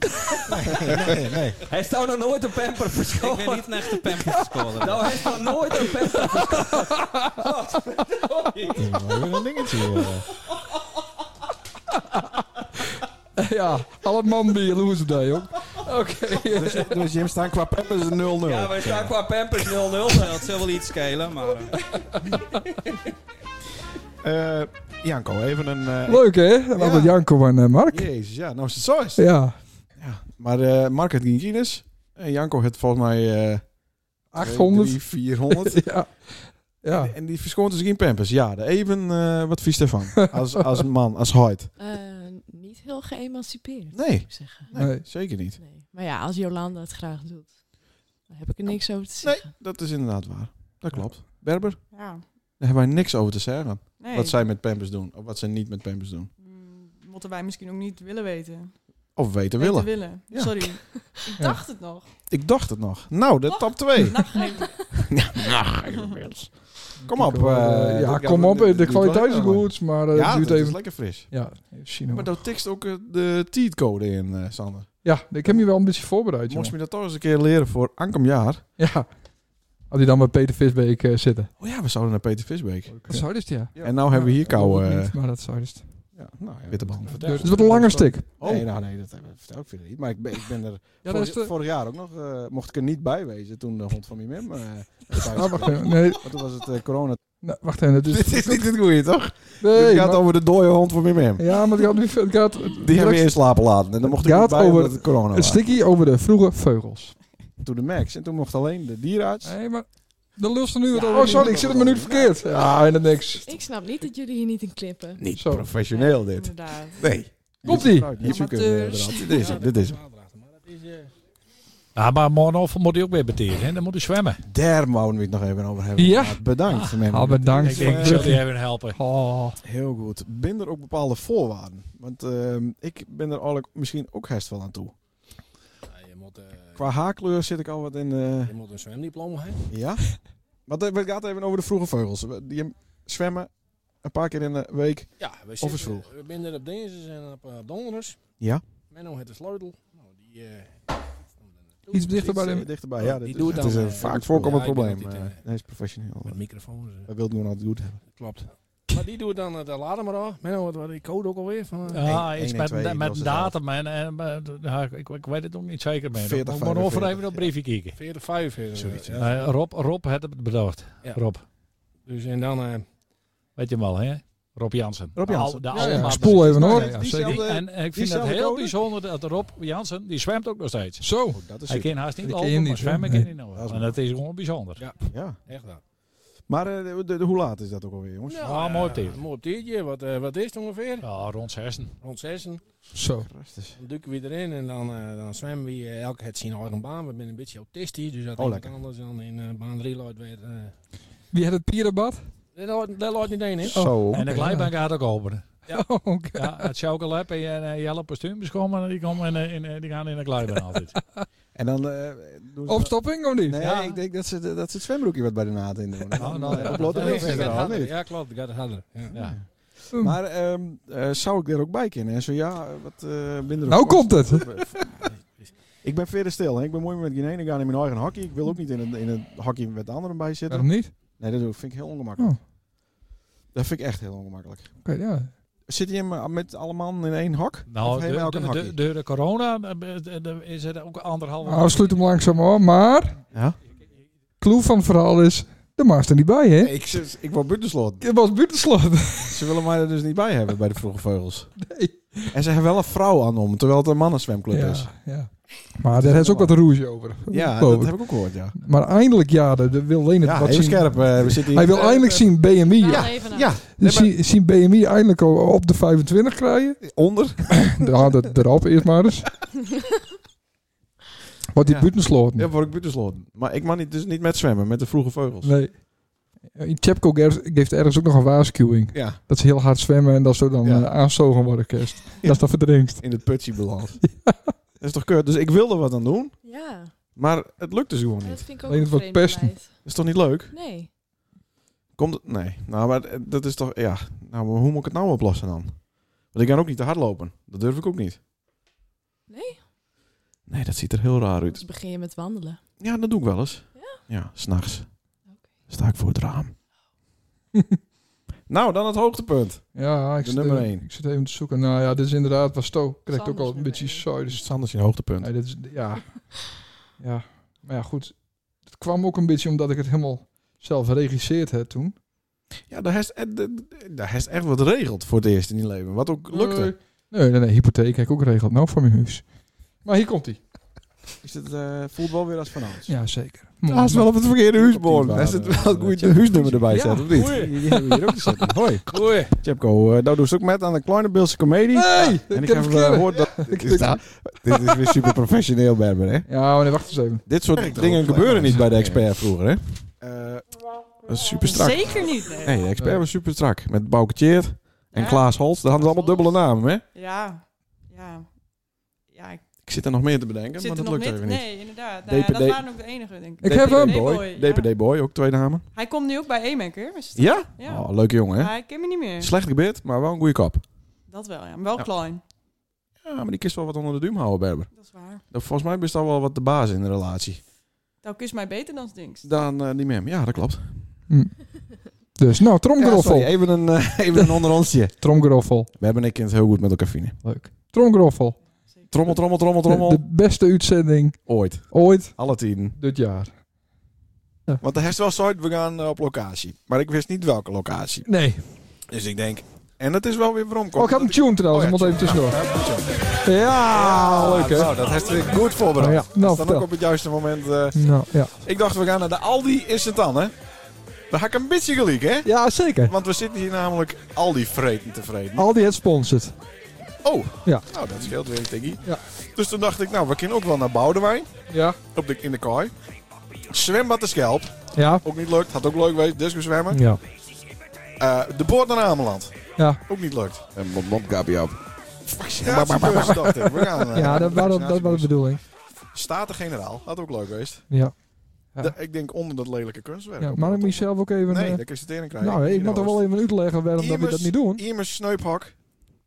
B: nee.
M: Hij is nou nog nooit een pamper verscholen. Ik ben niet een echte pamper verscholen. nou, hij is nog nooit een pamper verscholen.
B: een dingetje.
A: [laughs] ja, al het man bij loser day, hoor. Oké.
B: Dus, dus Jim staan qua peppers 0-0.
M: Ja, wij staan qua pampers 0-0. Dat zal wel iets schelen, maar... eh,
B: Eh, Janko, even een... eh,
A: Leuk, hè? Dan hadden Janko en eh, Mark.
B: Jezus, ja, nou is het zo. Is het.
A: Ja.
B: Maar eh Mark had geen kines. En Eh, Janko had volgens mij... eh 2,
A: 800.
B: 3, 400.
A: [laughs] ja. ja.
B: En die verschoont dus geen pampers. Ja, de even eh, wat vies daarvan. Als, als man, als huid.
F: Eh, niet heel geëmancipeerd,
B: Nee.
F: moet ik eh, zeggen.
B: Nee,
A: Nee.
B: zeker niet.
F: Maar ja, als Jolanda het graag doet, dan heb ik er niks over te zeggen.
B: Dat is inderdaad waar. Dat klopt. Berber,
E: Ja,
B: daar hebben wij niks over te zeggen.
E: nee.
B: Wat zij met pampers doen. Of wat zij niet met pampers doen.
E: Mm, Moeten wij misschien ook niet willen weten.
B: Of
E: Weten
B: weten willen.
E: willen.
B: [laughs] Ja.
E: Sorry. Ik dacht het nog.
B: Ik dacht het nog. Nou, de
E: Toch?
B: top 2.
E: Nou, nee.
B: [laughs] Ja, nou, inmiddels. kom op.
A: Ik, eh,
B: eh,
A: ja,
B: dat-
A: kom
B: dat-
A: op.
B: dat-
A: De
B: dat-
A: kwaliteit is
B: dat-
A: goed, maar eh,
B: ja,
A: het duurt
B: dat is
A: even.
B: lekker fris.
A: Ja, China.
B: Maar dat tekst ook eh, de cheatcode in, eh, Sander.
A: Ja, ik heb je wel een beetje voorbereid,
B: Moest
A: jongen.
B: je dat toch eens een keer leren voor aankomend jaar?
A: Ja. Had hij dan met Peter Visbeek eh, zitten.
B: Oh ja, we zouden naar Peter Visbeek.
A: Dat zou dus, ja.
B: En nou hebben we hier
A: Dat
B: koude
A: wil ik
B: eh
A: niet, Maar dat zou dus.
B: ja, nou, ja, witte bal.
A: Het is wat een langer stik.
B: Oh. Nee, nou, nee, dat hebben we- vertel ik verder niet. Maar ik ben, ik ben er
A: dat
B: vorig,
A: is de-
B: vorig jaar ook nog, eh, mocht ik er niet bij wezen toen de hond van mijn mem [laughs] eh, thuis
A: Ah, wacht
B: kwam.
A: even. Nee,
B: Want toen was het eh, corona.
A: nou, wacht even. Het is,
B: Dit is niet het goede, toch?
A: nee,
B: het gaat
A: maar-
B: over de dode hond van mijn mem.
A: ja, maar het gaat nu het gaat, het
B: Die hebben we
A: straks-
B: eerst slapen laten. En dan mocht ik
A: gaat
B: niet bij
A: over
B: omdat het corona
A: Een
B: was.
A: stikkie over de vroege vleugels.
B: Toen de Max. En toen mocht alleen de dierenarts.
A: Nee, maar de lusten nu.
B: Ja,
A: oh, sorry, ik zit een minuut verkeerd. Ja, en dat niks.
F: Ik snap niet dat jullie hier niet in klippen.
B: Niet
A: Zo.
B: professioneel dit.
E: Inderdaad.
B: Nee.
A: Komt-ie.
B: Niet zoeken
A: eh,
B: we
E: Amateurs.
B: eraan. Dit is hem, dit is hem.
O: Ja, maar morgen moet hij ook weer beteren, hè? Dan moet hij zwemmen.
B: Daar mogen we het nog even over hebben.
A: Ja.
B: Maar Bedankt. men.
A: Ah, bedankt.
O: Ik denk, ik zal die even helpen.
A: Oh,
B: eh, Heel goed. Binden er ook bepaalde voorwaarden? Want ehm, ik ben er eigenlijk misschien ook herst wel aan toe.
M: je, moet, eh,
B: Qua haarkleur zit ik al wat in... eh,
M: je moet een zwemdiploma hebben.
B: ja? Want eh, we gaan het even over de vroege vogels. We- Die zwemmen een paar keer in de week.
M: Ja, we,
B: Of is
M: zitten,
B: vroeg.
M: we zijn er op dinsdags en op eh, donderdags.
B: Ja.
M: Menno heeft de sleutel. Nou, die, eh,
A: iets dichter bij de...
B: Iets dichterbij. Ja,
M: Die
B: dit is,
M: doet
B: het
M: dan,
B: is een
M: eh,
B: vaak
M: doet-
B: voorkomend
M: ja, ik ben
B: probleem.
M: altijd,
B: Eh,
M: eh,
B: hij is professioneel.
M: met microfoons. eh,
B: Hij wil het gewoon altijd goed hebben.
M: Klopt. maar die doet dan het uh, laden maar aan. Menno, wat was die code ook alweer? Van, eh,
O: Ja,
B: Eén-
O: iets
B: één en
O: met,
B: twee, dat is
O: Ah, met datum. En, en, eh, ja, ik, ik weet het nog niet zeker meer.
B: 40,
O: ik moet nog even
B: 45,
O: op een briefje kijken.
M: 40, 5 eh,
B: Zoiets,
M: ja.
O: Eh, Rob, Rob had het bedacht.
M: Ja.
O: Rob,
M: Dus en dan... eh,
O: weet je hem al, hè? Rob Jansen.
B: Rob
O: De
B: Jansen.
O: al- De,
B: Ja,
O: oude
B: ja.
O: man.
A: Spoel even hoor.
O: Ja, zeker. en ik vind het
B: diezelfde
O: heel
B: code?
O: bijzonder dat Rob Jansen, die zwemt ook nog steeds.
A: Zo.
B: Oh, dat is
O: Hij
B: super.
O: kan haast niet
A: Ik ken
O: lopen,
A: hem
O: maar
A: niet, hè?
O: zwemmen kan hij
A: Nee.
B: Dat is
O: nog. En dat is gewoon bijzonder.
M: ja,
B: Ja.
M: echt waar.
B: Maar eh, de, de- de- hoe laat is dat ook alweer, jongens?
O: Ah,
M: eh,
O: mooi op dit.
M: Mooi op ditje. Wat, eh, wat is het ongeveer?
O: Ja, rond zessen.
M: Rond 6. Dan
A: Zo.
B: Prachtig.
M: duiken we erin en dan, eh, dan zwemmen we eh, elk het zien eigen baan. We zijn een beetje autistisch, dus dat
B: Oh,
M: iemand
B: lekker.
M: anders dan in eh, baan 3 loopt weer... eh,
A: Wie had het pierenbad? Oh.
M: dat loopt- Dat loopt niet één, hè?
O: Oh,
B: Zo.
O: En de glijbaan gaat ook openen.
A: Oké.
O: [laughs] Ja, het chocolade en eh jelle postuums komen en die, komen in, eh, in, eh, die gaan in de glijbaan altijd.
B: En dan eh, doen ze...
A: Opstopping of niet?
B: Nee,
O: Ja.
B: ik denk dat
M: [laughs]
B: ze, dat ze het zwembroekje wat bij de naad in doen. En dan,
O: Oh, nou,
B: eh,
O: ja.
B: op Lotte
M: Ja,
B: Wilfred
M: gaat
B: eraan,
M: harder.
B: niet?
M: Ja, klopt. Dat gaat harder. Ja.
O: Ja.
B: Maar ehm, eh, zou ik er ook bij kunnen? En zo ja, eh, wat eh minder.
A: Nou komt het.
B: ik ben verder stil. Hè? Ik ben mooi met geen ene gaan in mijn eigen hockey. Ik wil ook niet in het, in het hockey met de anderen bij zitten.
A: Waarom niet? Oh.
B: Nee, dat doe ik. vind ik heel ongemakkelijk. Dat vind ik echt heel ongemakkelijk.
A: Oké, ja.
B: Zit je hem eh, met alle man in één hok?
O: Nou,
B: of
O: de-
B: helemaal
O: de-
B: een
O: de-
B: hockey?
O: door de corona eh, eh, eh, is er ook anderhalve...
A: Nou, sluit hem langzaam aan, maar...
B: Ja?
A: Clue van het verhaal is... De maas er niet bij, hè?
B: Ik, zit- ik word buitenslot.
A: Het was buitenslot.
B: [laughs] Ze willen mij er dus niet bij hebben bij de vroege vogels. En ze hebben wel een vrouw aan om, terwijl het dus. een mannenzwemclub
A: Ja,
B: is.
A: ja. Maar daar is ook wat roezie over. [laughs]
B: Ja,
A: Geloof
B: dat heb ik ook gehoord, ja.
A: Maar eindelijk, ja, de, de wil Lene
B: Ja,
A: wat
B: even
A: zien.
B: scherp. eh, we zitten hier.
A: Hij wil eindelijk zien BMI.
B: Ja, ja.
A: Dus zien, zien BMI eindelijk al op de 25 krijgen.
B: Onder?
A: [laughs] ja, dat erop eerst maar eens. Wat die
B: Ja.
A: buitensloten.
B: Ja, word ik buitensloten. Maar ik mag niet, dus niet met zwemmen, met de vroege vogels.
A: Nee. In Chepco geeft- geeft ergens ook nog een waarschuwing.
B: Ja.
A: Dat ze heel hard zwemmen en dat ze dan eh, aanzogen worden kerst. Dat is dan verdrinkt.
B: In het putje
A: [laughs]
B: beland. Dat is toch keur? Dus ik wilde wat aan doen,
F: Ja,
B: maar het lukt dus gewoon
F: dat
B: niet.
F: vind ik ook
A: Alleen
F: een
A: het wordt
F: vreemd
A: pesten.
F: beleid.
B: Is toch niet leuk?
F: Nee.
B: Komt het? Nee. Nou, maar eh, dat is toch... Ja. Nou, maar hoe moet ik het nou oplossen dan? Want ik kan ook niet te hard lopen. Dat durf ik ook niet.
F: Nee?
B: Nee, dat ziet er heel raar uit.
F: Dus begin je met wandelen.
B: Ja, dat doe ik wel eens. Ja? Ja, s'nachts. Sta ik voor het raam. nou, dan het hoogtepunt.
A: Ja, ik
B: De
A: zit,
B: nummer
A: even,
B: één.
A: ik zit even te zoeken. Nou ja, dit is inderdaad wat Sto. Krijgt ook
F: Sanders
A: al een beetje saai. Dus
B: Sanders in hoogtepunt.
A: Nee, dit is, ja. [laughs] ja. Maar ja, goed. Het kwam ook een beetje omdat ik het helemaal zelf geregisseerd heb toen.
B: Ja, daar heeft, eh, de- de- daar heeft echt wat regeld voor het eerst in je leven. Wat ook lukte.
A: Eh, Nee, nee, nee. Hypotheek heb ik ook geregeld. Nou, voor mijn huis. Maar hier komt hij.
B: Is het eh, voelt wel weer als van ouds.
A: Ja, zeker.
B: Hij is wel op het verkeerde huisborn.
A: Op
B: Hij
A: die
B: zit
A: baan,
B: wel
A: eh,
B: goed de
A: Chapco.
B: huisnummer erbij
A: Ja,
B: zetten, of niet?
A: goeie.
B: Die hebben we hier ook gezet. Hoi.
O: Goeie.
B: Chapco, eh nou doe ze ook met aan de kleine Beelse comedie.
A: Nee,
B: en
A: ik
B: ik
A: heb
B: heb
A: het
B: eh,
A: verkeerde.
B: gehoord dat...
A: [laughs] Ik-
B: Is dat- dit is weer super professioneel, Berber, hè?
A: Ja, maar nee, Nou, wacht eens even.
B: Dit soort dingen gebeuren niet bij de expert vroeger, hè? Eh, Dat is super strak.
E: Zeker niet, nee.
B: Nee, de expert was super strak. Met Bouke Tjeerd en Klaas Holst. Dat hadden ze allemaal dubbele namen, hè?
E: Ja, ja. ja ik
B: Ik zit er nog meer te bedenken,
E: zit
B: maar
E: er
B: dat
E: nog
B: lukt
E: meer.
B: even niet.
E: Nee, inderdaad. Nou ja,
B: DPD
E: dat waren ook de enige, denk ik.
A: Ik heb hem.
E: Boy, ja.
B: DPD Boy, ook twee namen.
E: Hij komt nu ook bij Emaker. mijn zus.
B: Ja?
E: ja.
B: Oh, leuke jongen, hè?
E: Maar ik ken hem niet meer.
B: Slecht gebit, maar wel een goede kop.
E: Dat wel, ja. Maar wel
B: Ja.
E: klein.
B: Ja, maar die kist wel wat onder de duim houden, Berber.
E: Dat is waar.
B: Dat- Volgens mij bestaat wel wat de baas in de relatie.
E: Nou, kus mij beter dan Stinks.
B: Dan eh, die mem. Ja, dat klopt.
A: Hm. Dus, nou,
B: Ja,
A: tromgeroffel.
B: sorry, even een, eh, even
A: [laughs]
B: een onderontje.
A: Tromgeroffel.
B: Berber en ik kunnen het heel goed met elkaar vinden.
A: Leuk. Tromgeroffel.
B: Trommel, trommel, trommel,
A: De,
B: trommel.
A: de beste uitzending
B: Ooit.
A: ooit
B: Alle tien.
A: dit jaar.
B: Want de herst was zo uit, we gaan eh, op locatie. Maar ik wist niet welke locatie.
A: Nee.
B: Dus ik denk... En dat is wel weer waarom
A: Oh, ik heb een tune trouwens. Ik moet even tussendoor. Ja, leuk hè.
B: Nou, dat heeft weer goed voorbereid.
A: Ja, nou,
B: Dat is dan
A: vertel.
B: ook op het juiste moment. eh,
A: Nou, ja.
B: Ik dacht, we gaan naar de Aldi in Sint-Anne. Daar had ik een beetje gelijk, hè?
A: Ja, zeker.
B: Want we zitten hier namelijk Aldi vreten tevreden.
A: Aldi het sponsort.
B: Oh,
A: Ja.
B: nou dat scheelt weer een tikkie.
A: Ja.
B: Dus toen dacht ik, nou, we kunnen ook wel naar Boudewijn.
A: Ja.
B: Op de, in de kooi. Zwembad de Schelp.
A: Ja.
B: Ook niet lukt. Had ook leuk geweest. Disco zwemmen.
A: Ja.
B: Eh, de boord naar Ameland.
A: Ja.
B: Ook niet lukt.
P: En mond mond kapje op.
B: Vaccinatiebeurs, dacht ik. We gaan, eh,
A: Ja, dat was, dat was
B: vaccinatiebeurs.
A: de bedoeling.
B: Staten-generaal. Had ook leuk geweest.
A: Ja.
B: Da- ik denk onder dat lelijke kunstwerk.
A: ja
B: Op-
A: maar ik moet zelf ook even...
B: Nee,
A: eh,
B: daar kun je het in krijgen.
A: Nou, ik
B: Hier
A: moet er
B: nou
A: wel
B: eens.
A: even uitleggen waarom dat we dat
B: Immers-
A: niet doen.
B: Immers sneuphak.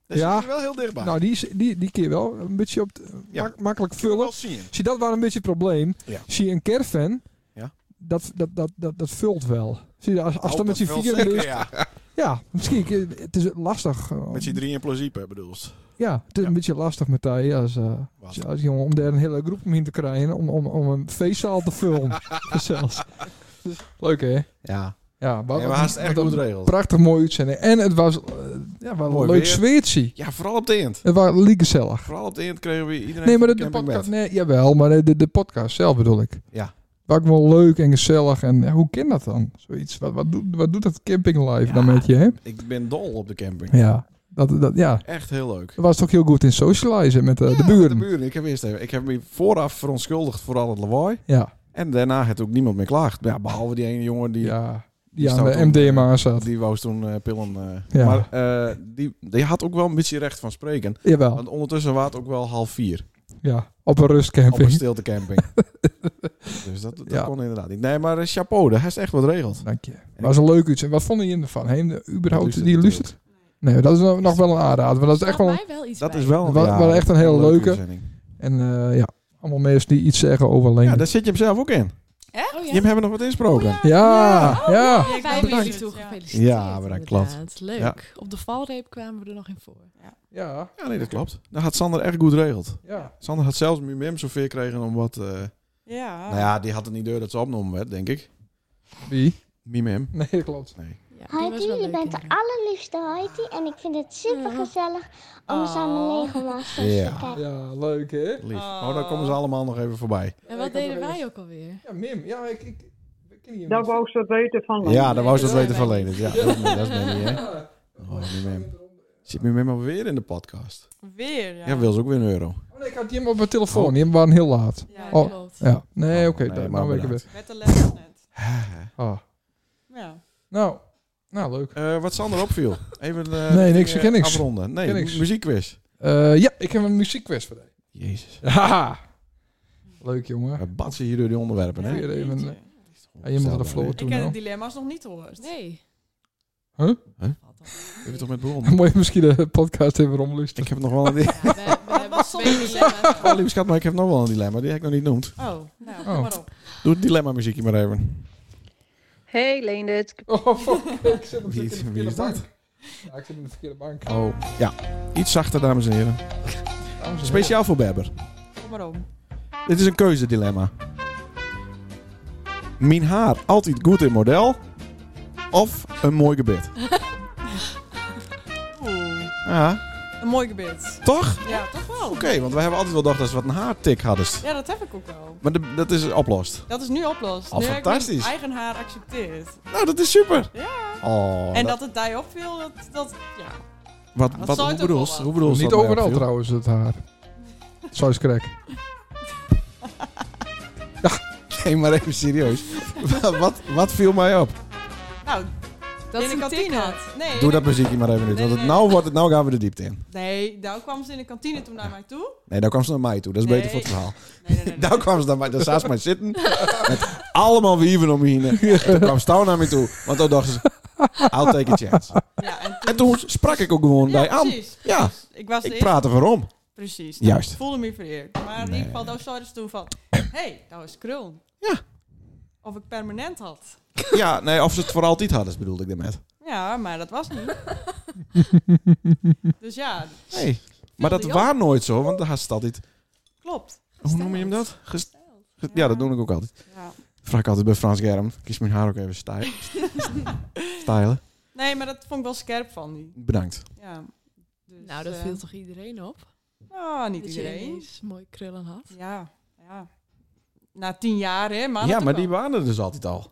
B: Dat
A: Ja.
B: is wel heel dichtbij.
A: Nou, die, is- die, die keer wel een beetje op t- mak- makkelijk vullen.
B: zien.
A: Zie, dat was een beetje het probleem.
B: Ja.
A: Zie, een caravan,
B: Ja.
A: dat, dat, dat, dat, dat vult wel. Zie, als, als
B: Oh,
A: dan met z'n
B: dat vult
A: vier
B: zeker,
A: leest,
B: ja.
A: [laughs] ja, misschien, eh, het is lastig. eh,
B: Met z'n drieën in principe bedoeld.
A: Ja, het is een beetje lastig, Matthijs, als, eh, als, als jongen, om daar een hele groep omheen te krijgen, om, om, om een feestzaal te
B: [laughs]
A: vullen. Zelfs. Dus, leuk, hè?
B: Ja.
A: Ja,
B: Ja, maar haast echt
A: wat een
B: goed regeld.
A: Prachtig mooi uitzending. En het was, eh, ja, wat een
B: Mooi
A: leuk
B: weer.
A: zweertje.
B: Ja, vooral op de eind.
A: Het was liek gezellig.
B: Vooral op de eind kregen we iedereen
A: Nee, maar de,
B: van
A: de
B: campingbed.
A: podcast. Nee, jawel, maar de- de, de podcast zelf bedoel ik.
B: Ja.
A: Waar ik wel leuk en gezellig en ja, hoe kan dat dan? Zoiets. Wat, wat, doet, wat doet dat camping live dan met je, hè?
B: Ik ben dol op de camping.
A: Ja. Dat, dat, ja.
B: Echt heel leuk.
A: Dat was toch heel goed in socializen met eh, de
B: De
A: buren.
B: buren, ik heb eerst even, ik heb me vooraf verontschuldigd voor al het lawaai.
A: Ja.
B: En daarna heeft ook niemand meer klaagd. Ja, behalve die ene jongen die...
A: Ja, die
B: die
A: aan
B: zou
A: de
B: toen,
A: MDMA
B: eh,
A: zat.
B: Die wou toen eh, pillen. eh.
A: Ja.
B: Maar eh, die, die had ook wel een beetje recht van spreken.
A: Jawel.
B: Want ondertussen was het ook wel half vier.
A: Ja, op een rustcamping.
B: Op een
A: [laughs]
B: stiltecamping. dus dat, dat
A: Ja.
B: kon inderdaad niet. Nee, maar eh, chapeau, daar is echt wat regeld.
A: Dank je. was een leuk iets. En wat vonden jullie ervan? Heen, überhaupt, eh, die luistert? Nee, dat is nog nog wel een aanrader. Want dat is echt wel, een-
F: wel iets
B: Dat is wel,
A: wa- wa-
B: ja,
A: wel echt een hele
B: leuke
A: leuke.
B: uitzending.
A: En eh, ja, allemaal mensen die iets zeggen over alleen.
B: Ja, daar zit je hem zelf ook in.
F: Echt? Oh, ja.
B: Je hebt hem nog wat insproken.
A: ja.
F: Oh,
A: ja.
F: wij hebben jullie toe gefeliciteerd.
B: Ja, maar dat klopt.
F: inderdaad.
B: Ja.
F: Leuk. Op de valreep kwamen we er nog in voor.
A: Ja.
B: Ja, nee, dat klopt. Dat had Sander echt goed geregeld.
A: Ja.
B: Sander had zelfs mijn mem zover gekregen om wat... eh,
E: Ja.
B: Nou ja, die had het niet door dat ze opgenomen werd, denk ik.
A: Wie?
B: Mijn mem.
A: Nee, dat klopt.
B: Nee.
P: Heidi, je bent de allerliefste Heidi en ik vind het super gezellig om samen Lego Masters te
B: Ja.
P: kijken.
A: Ja, leuk hè?
B: Lief. Oh, daar komen ze allemaal nog even voorbij.
F: En wat deden wij ook alweer?
A: Ja, Mim. Ja, ik... ik,
Q: Dat wou ze weten van Lennart.
B: Ja, daar wou ze dat weten van Lenert. Ja, dat is niet, dat is niet, hè? Oh, mijn mem. Zit mijn mem alweer in de podcast?
E: Weer, ja.
B: Ja, wil ze ook weer een euro.
A: Oh, nee, ik had die hem op mijn telefoon. Die hem waren heel laat.
E: Ja,
A: oh,
E: klopt.
A: Ja. Nee, oké.
B: Oh, nee,
A: dan
B: maar
A: nou weet ik
B: bedankt.
A: het.
E: Met de les net.
A: Ah.
E: Ja.
A: Nou, nou leuk.
B: Eh, wat Sander opviel. Even eh,
A: nee, niks.
B: eh,
A: Ik ken niks.
B: afronden. Nee,
A: Ken niks.
B: muziekquiz.
A: Eh, ja, ik heb een muziekquiz voor deze.
B: Jezus.
A: [laughs] Haha. Leuk jongen.
B: We batsen hier door die onderwerpen, hè?
A: Weer even, eh, ja, je moet naar de floor
E: Ik
A: toe
E: ken de
A: nou.
E: dilemma's nog niet hoor.
F: Nee.
A: Huh?
B: Heb je toch met bron?
A: [laughs] Dan moet je misschien de podcast even omlusten.
B: Ik heb nog
E: [laughs]
B: wel een dilemma.
E: Wat stond er dilemma's?
B: [laughs] oh, lieve schat, maar ik heb nog wel een dilemma. Die heb ik nog niet noemd.
E: Oh, nou,
B: Oh.
E: kom maar op.
B: Doe het dilemma muziekje maar even.
Q: Hey Leendert.
M: Oh,
A: ik zit
B: [laughs] Wie, wie is dat?
A: Ja, ik zit in de verkeerde bank.
B: Oh, ja. Iets zachter, dames en heren. Speciaal voor Berber.
E: Kom maar op.
B: Dit is een keuzedilemma. Mijn haar altijd goed in model of een mooi gebit?
E: [laughs] Oeh,
B: Ja,
E: een mooi gebit.
B: toch?
E: Ja, toch wel.
B: Oké, want wij hebben altijd wel gedacht dat ze wat een haartik hadden.
E: Ja, dat heb ik ook wel.
B: Maar de- dat is oplost.
E: Dat is nu oplost.
B: Oh,
E: nu heb ik
B: fantastisch.
E: mijn eigen haar accepteert.
B: Nou, dat is super.
E: Ja.
B: Oh,
E: en dat, het daar opviel, dat, dat ja.
B: Wat,
E: dat
B: wat,
E: zou
B: hoe
E: het ook wel
B: bedoelst
E: wat.
B: hoe bedoelst
A: Niet
B: dat mij
A: overal
B: opviel?
A: trouwens, het haar. Zo is krek.
B: [laughs] Nee, maar even serieus. Wat- wat, wat viel mij op?
E: Nou, dat in de kantine. Nee,
B: Doe
E: in
B: dat
E: de-
B: muziekje maar even niet.
E: Nee,
B: Want het,
E: nee.
B: nou, wordt het, nou gaan we de diepte in.
E: Nee, daar kwam ze in de kantine toen naar mij toe.
B: Nee, daar kwam ze naar mij toe. Dat is beter voor het
E: Nee.
B: verhaal. [laughs] daar kwam ze naar mij. Daar zaten ze mij zitten. Met allemaal wieven om me heen. Toen kwam Stouw naar me toe. Want toen dacht ze... I'll take a chance.
E: en,
B: toen... sprak ik ook gewoon bij aan.
E: precies,
B: Ja,
E: precies. Ik was de
B: ik
E: eerste-
B: praat er voor om.
E: Precies. Nou,
B: Juist.
E: Ik voelde me vereerd. Maar in ieder geval, daar zouden ze toen
B: [clears throat]
E: van... hey, nou is krul.
B: Ja.
E: Of ik permanent had.
B: Ja, nee, of ze het voor altijd hadden, bedoelde ik daarmee.
E: Ja, maar dat was
B: [laughs]
E: niet. dus ja,
B: Nee, maar dat
E: die
B: was nooit zo, want daar had ze het altijd...
E: klopt.
B: Hoe noem je hem dat? Gest- ge- ja, dat doe ik ook altijd.
E: Ja.
B: Dat vraag ik altijd bij Frans Germ. Kies mijn haar ook
E: [laughs]
B: even stijl. stylen.
E: Nee, maar dat vond ik wel scherp van die.
B: Bedankt.
E: Ja. Dus,
F: nou, dat
E: eh,
F: viel toch iedereen op?
E: Ah, niet
F: Dat je
E: iedereen.
F: ineens mooi krullen had.
E: Ja, ja. Na tien jaar, hè? Maar
B: ja, maar die waren er dus altijd al.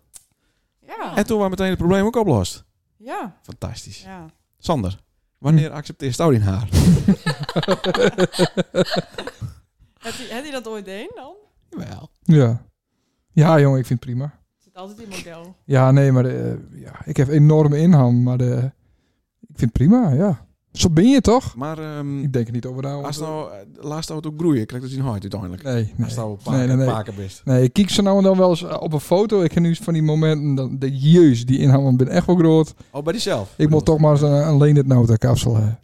E: Ja.
B: En toen waren meteen het probleem ook opgelost.
E: Ja.
B: Fantastisch.
E: Ja.
B: Sander, wanneer accepteert Stouw die
A: [laughs]
B: haar?
E: Heb je, heb je dat ooit deed dan?
B: Jawel.
A: Ja. Ja, jongen, ik vind het prima.
E: Er zit altijd in model.
A: Ja, nee, maar eh, ja, ik heb enorme inham, maar eh, ik vind het prima, ja. Zo ben je toch?
B: Maar ehm,
A: Ik denk er niet over na.
B: als nou, eh, laat Stouw het ook groeien, krijg je zien hard uiteindelijk.
A: Nee, nee.
B: Als Stouw een
A: Nee, nee, nee.
B: paken best.
A: Nee, ik kijk zo nou en dan wel eens eh, op een foto. Ik ken nu van die momenten, dat, dat jeus, die inham ben echt wel groot.
B: Oh, bij diezelf.
A: Ik moet toch maar eens eh, een, een Leendert Nauta kapsel hebben.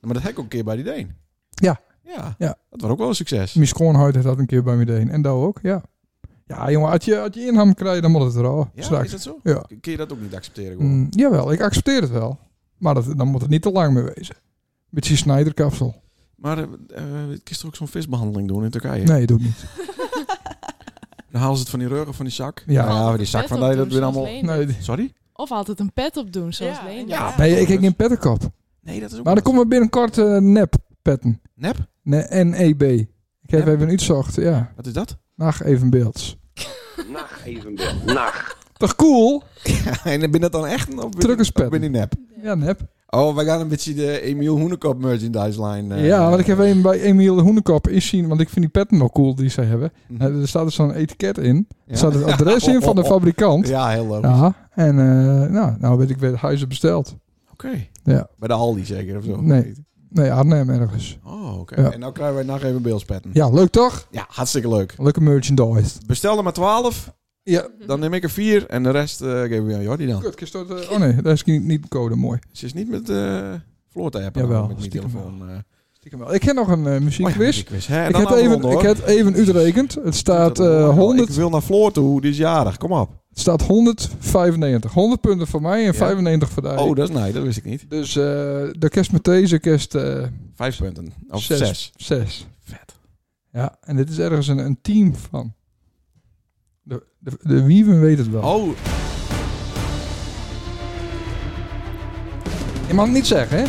B: Maar dat heb ik ook een keer bij die Deen.
A: Ja.
B: Ja.
A: Ja.
B: Dat was ook wel een succes.
A: Mijn schoonheid heeft dat een keer bij me deed. En dat ook, ja. Ja, jongen, als je, als je inham krijgt, dan moet het er al.
B: Ja,
A: straks.
B: is dat zo?
A: Ja.
B: Kun je dat ook niet accepteren? Gewoon?
A: Mm, jawel, ik accepteer het wel. Maar dat, dan moet het niet te lang mee wezen. Beetje snijderkapsel.
B: Maar eh eh, kun je toch ook zo'n visbehandeling doen in Turkije?
A: Nee, doe niet.
B: Dan halen ze het van die rug of van die zak.
A: Ja.
B: Nou ja die
F: Altijd
B: zak van
F: vet
B: die, dat weer
F: opdoen, zoals
B: allemaal...
F: Leendert. Nee,
B: Sorry?
F: Of altijd een pet opdoen, zoals ja,
E: Ja.
A: Nee, ik heb geen pettenkap.
B: Ah, Nee, dat is ook
A: Maar er
B: wel-
A: komen binnenkort eh, nep petten.
B: Nep?
A: Nee, N-E-B. Ik heb even uitzocht, ja.
B: Wat is dat?
A: Nacht evenbeelds.
D: Nacht evenbeeld. Nacht.
A: Toch cool?
B: en ben je dat dan echt? Of ben-
A: Truckerspet.
B: of Ben je nep?
A: Ja, nep.
B: Oh, wij gaan een beetje de Emiel Hoenekop merchandise line. eh,
A: ja, want ik heb een bij Emiel Hoenekop is zien, want ik vind die petten wel cool die zij hebben. Nou, er staat dus zo'n etiket in.
B: Mhm. Ja. Oh,
A: Er staat het adres in
B: [laughs]
A: van de fabrikant.
B: Ja, heel logisch.
A: Ja, en eh, nou, nou weet ik weer, huizen besteld.
B: Oké.
A: Ja.
B: Bij de Aldi zeker of zo?
A: Nee, nee Arnhem ergens.
B: Oh, oké.
A: Ja.
B: En nou krijgen wij nog even beeldspetten.
A: Ja, leuk toch?
B: Ja, hartstikke leuk.
A: Leuke merchandise.
B: Bestel er maar 12.
A: Ja.
B: Dan neem ik er 4 en de rest eh, geven we aan Jordi dan.
A: Kut, kist dat, eh, oh nee, dat is niet, niet code, mooi.
B: Ze is niet met eh Floor te appen
A: Jawel,
B: nou, met mijn
A: stiekem
B: telefoon. eh.
A: Stiekem wel. Ik heb nog een eh, muziekquiz.
B: muziekquiz. Hè,
A: ik
B: dan
A: heb
B: afronden,
A: even, ik
B: hoor.
A: heb even uitrekend. Het staat, eh 100,
B: Ik wil naar Floor toe, die is jarig. Kom op.
A: het staat 195. 100 punten voor mij en 95 voor Dai.
B: Oh, dat is nee, dat wist ik niet.
A: Dus eh, de kerst met deze kerst... eh,
B: Vijf punten. Of
A: zes.
B: zes.
A: Zes. Vet. Ja, en dit is ergens een, een team van. De, de, de Wieven weet het wel.
B: Oh.
A: Je mag het niet zeggen, hè?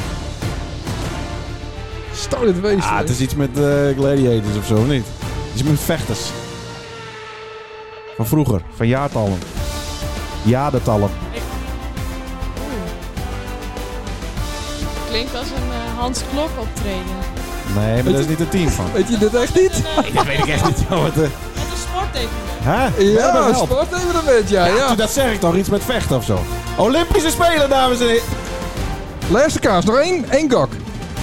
A: Stel dit wezen.
B: Ah, het is iets met eh, gladiators of zo, of niet? Iets met vechters. Van vroeger, van jaartallen. Jaartallen.
F: Klinkt als een eh, Hans Klok optreden.
B: Nee, maar dat is niet een team van.
A: Weet je dit echt niet?
B: Dat weet ik echt niet. joh, Wat, eh,
E: Wat een sport even.
B: hè?
A: Ja,
B: Help.
A: sport even een beetje, ja. ja.
B: toen Dat zeg ik toch, iets met vechten of zo. Olympische Spelen, dames en heren.
A: Laatste kaas, nog één, één gok.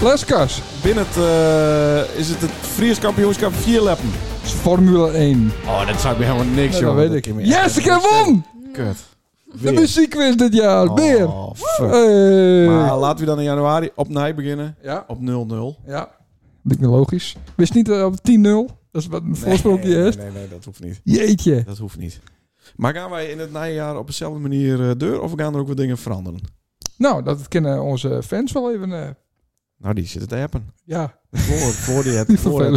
A: Laatste kaas.
B: Binnen het, eh, is het het Fries kampioenschap vierleppen.
A: Formule 1.
B: Oh, dat zou ik me helemaal niks,
A: Nee,
B: joh.
A: dat weet ik. Yes, ik heb won!
B: Kut.
A: De muziekquiz dit jaar, weer.
B: Oh, fuck.
A: Hey.
B: Maar laten we dan in januari op Nij beginnen.
A: Eh. Ja.
B: Op 0-0.
A: Ja. Lijkt me logisch. Wist niet eh, op 10-0. Dat is wat een voorsprong op die
B: nee,
A: eerst.
B: nee, nee, dat hoeft niet.
A: Jeetje.
B: Dat hoeft niet. Maar gaan wij in het najaar op dezelfde manier eh deur of gaan er ook wat dingen veranderen?
A: Nou, dat kennen onze fans wel even. eh,
B: Nou, die zitten te appen.
A: ja.
B: Voor, voor die het,
A: [laughs] Die
B: voor het ook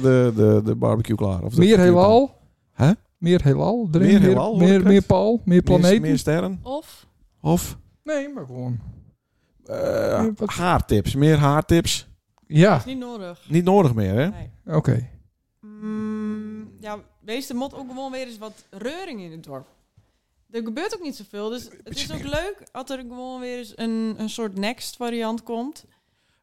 B: de, de, de, de barbecue klaar. Of de barbecue
A: meer
B: pan.
A: heelal.
B: Hè?
A: Meer heelal. erin,
B: Meer heelal, hoor
A: Meer,
B: ik
A: meer,
B: het.
A: meer paal. Meer planeten.
B: Meer, meer sterren.
F: Of?
B: Of
A: Nee, maar gewoon.
B: eh,
A: Nee, wat-
B: haartips. Meer haartips.
A: Ja.
E: Niet nodig.
B: Niet nodig meer, hè?
E: Nee.
A: Oké.
E: Mm, ja, wees de mot ook gewoon weer eens wat reuring in het dorp. Er gebeurt ook niet zoveel, dus het is ook leuk als er gewoon weer eens een, een soort next variant komt.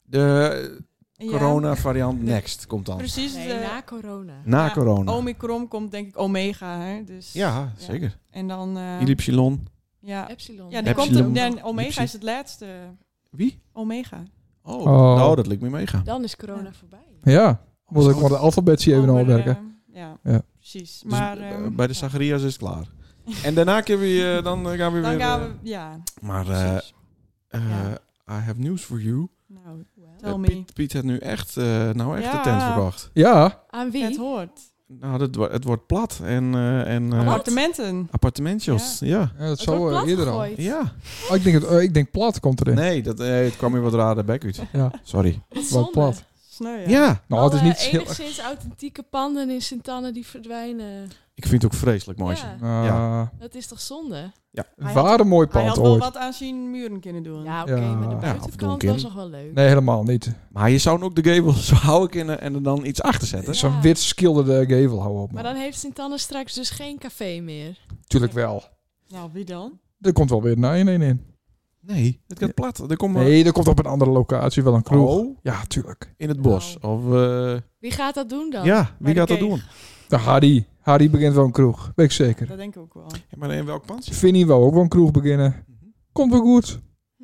B: De
E: Ja.
B: corona variant next komt dan.
E: Precies.
F: Nee,
E: de-
F: na corona.
B: Na
E: Ja,
B: corona.
E: Omicron komt denk ik omega, hè? Dus,
B: Ja, zeker.
E: En dan... eh,
B: Ellipsilon.
E: ja.
F: Epsilon.
E: Ja, die
B: Epsilon.
E: komt er, ja, omega
B: Epsilon.
E: is het laatste.
B: Wie?
E: Omega.
B: Oh,
A: Oh.
B: nou, dat lijkt me meegaan.
F: Dan is corona voorbij.
A: Ja. Moet ik gewoon de alfabetje
F: Oh,
A: even
E: Over,
A: opwerken.
E: eh, ja,
A: Ja.
E: precies.
B: Dus,
E: Maar
B: eh,
E: ehm,
B: bij de Zacharias is het
E: [laughs]
B: klaar. En daarna kunnen we, eh, dan eh, gaan we
E: dan
B: weer...
E: gaan
B: eh,
E: we... Ja,
B: Maar eh,
E: precies.
B: eh, I have news for you.
E: nou,
B: Eh,
E: tell me.
B: Piet, Piet heeft nu echt, eh, nou echt
E: Ja.
B: de tent verkocht.
A: Ja.
F: Aan wie?
E: Het hoort.
B: Nou, dat, wo- het wordt plat en, eh, en eh,
E: Appartementen.
B: appartementjes. Ja.
A: Ja, dat
F: Het wordt
A: zou eh, eerder al.
F: platgegooid.
B: Ja.
A: Oh, ik, denk het, eh, ik denk plat komt erin.
B: Nee, dat, eh, het kwam hier wat raar de bek uit.
A: Ja.
B: Sorry.
A: Wat
F: zonde.
A: plat.
E: Sneu, ja. eh,
B: Ja.
A: Nou, het is
F: Alle
A: niet heel erg.
F: enigszins authentieke panden in Sint-Anne die verdwijnen.
B: Ik vind het ook vreselijk mooi.
F: Ja,
A: Ah,
F: dat is toch zonde?
E: Hij had-
A: Waar een mooi
E: Hij had
A: pand
E: wel
A: ooit.
E: wat aan zijn muren kunnen doen.
F: Ja, oké,
A: Ja.
F: maar de
A: Ja,
B: afdoen,
F: buitenkant
B: kind.
F: was nog wel leuk.
A: Nee, helemaal niet.
B: Maar je zou ook de gable [laughs] zo houden kunnen en er dan iets achter zetten.
A: Zo'n wit schilderde gevel hou op.
F: Maar
A: man.
F: dan heeft Sint-Anne straks dus geen café meer.
A: Tuurlijk wel.
E: Nou, wie dan?
A: Er komt wel weer een 1 in.
B: Nee, het gaat plat. Er komt maar
A: Nee, er komt op een andere locatie wel een kroeg.
B: Oh,
A: Ja, tuurlijk.
B: in het bos. Of, eh,
F: Wie gaat dat doen dan?
B: ja, wie
E: de
B: gaat dat
E: keeg.
B: doen?
A: De Harry. Harry begint wel een kroeg. Weet ik zeker.
E: Dat denk ik ook wel.
B: Ja, maar in welk pand? Mhm.
A: Vinnie wou ook wel een kroeg beginnen. Komt wel goed.
F: Hm.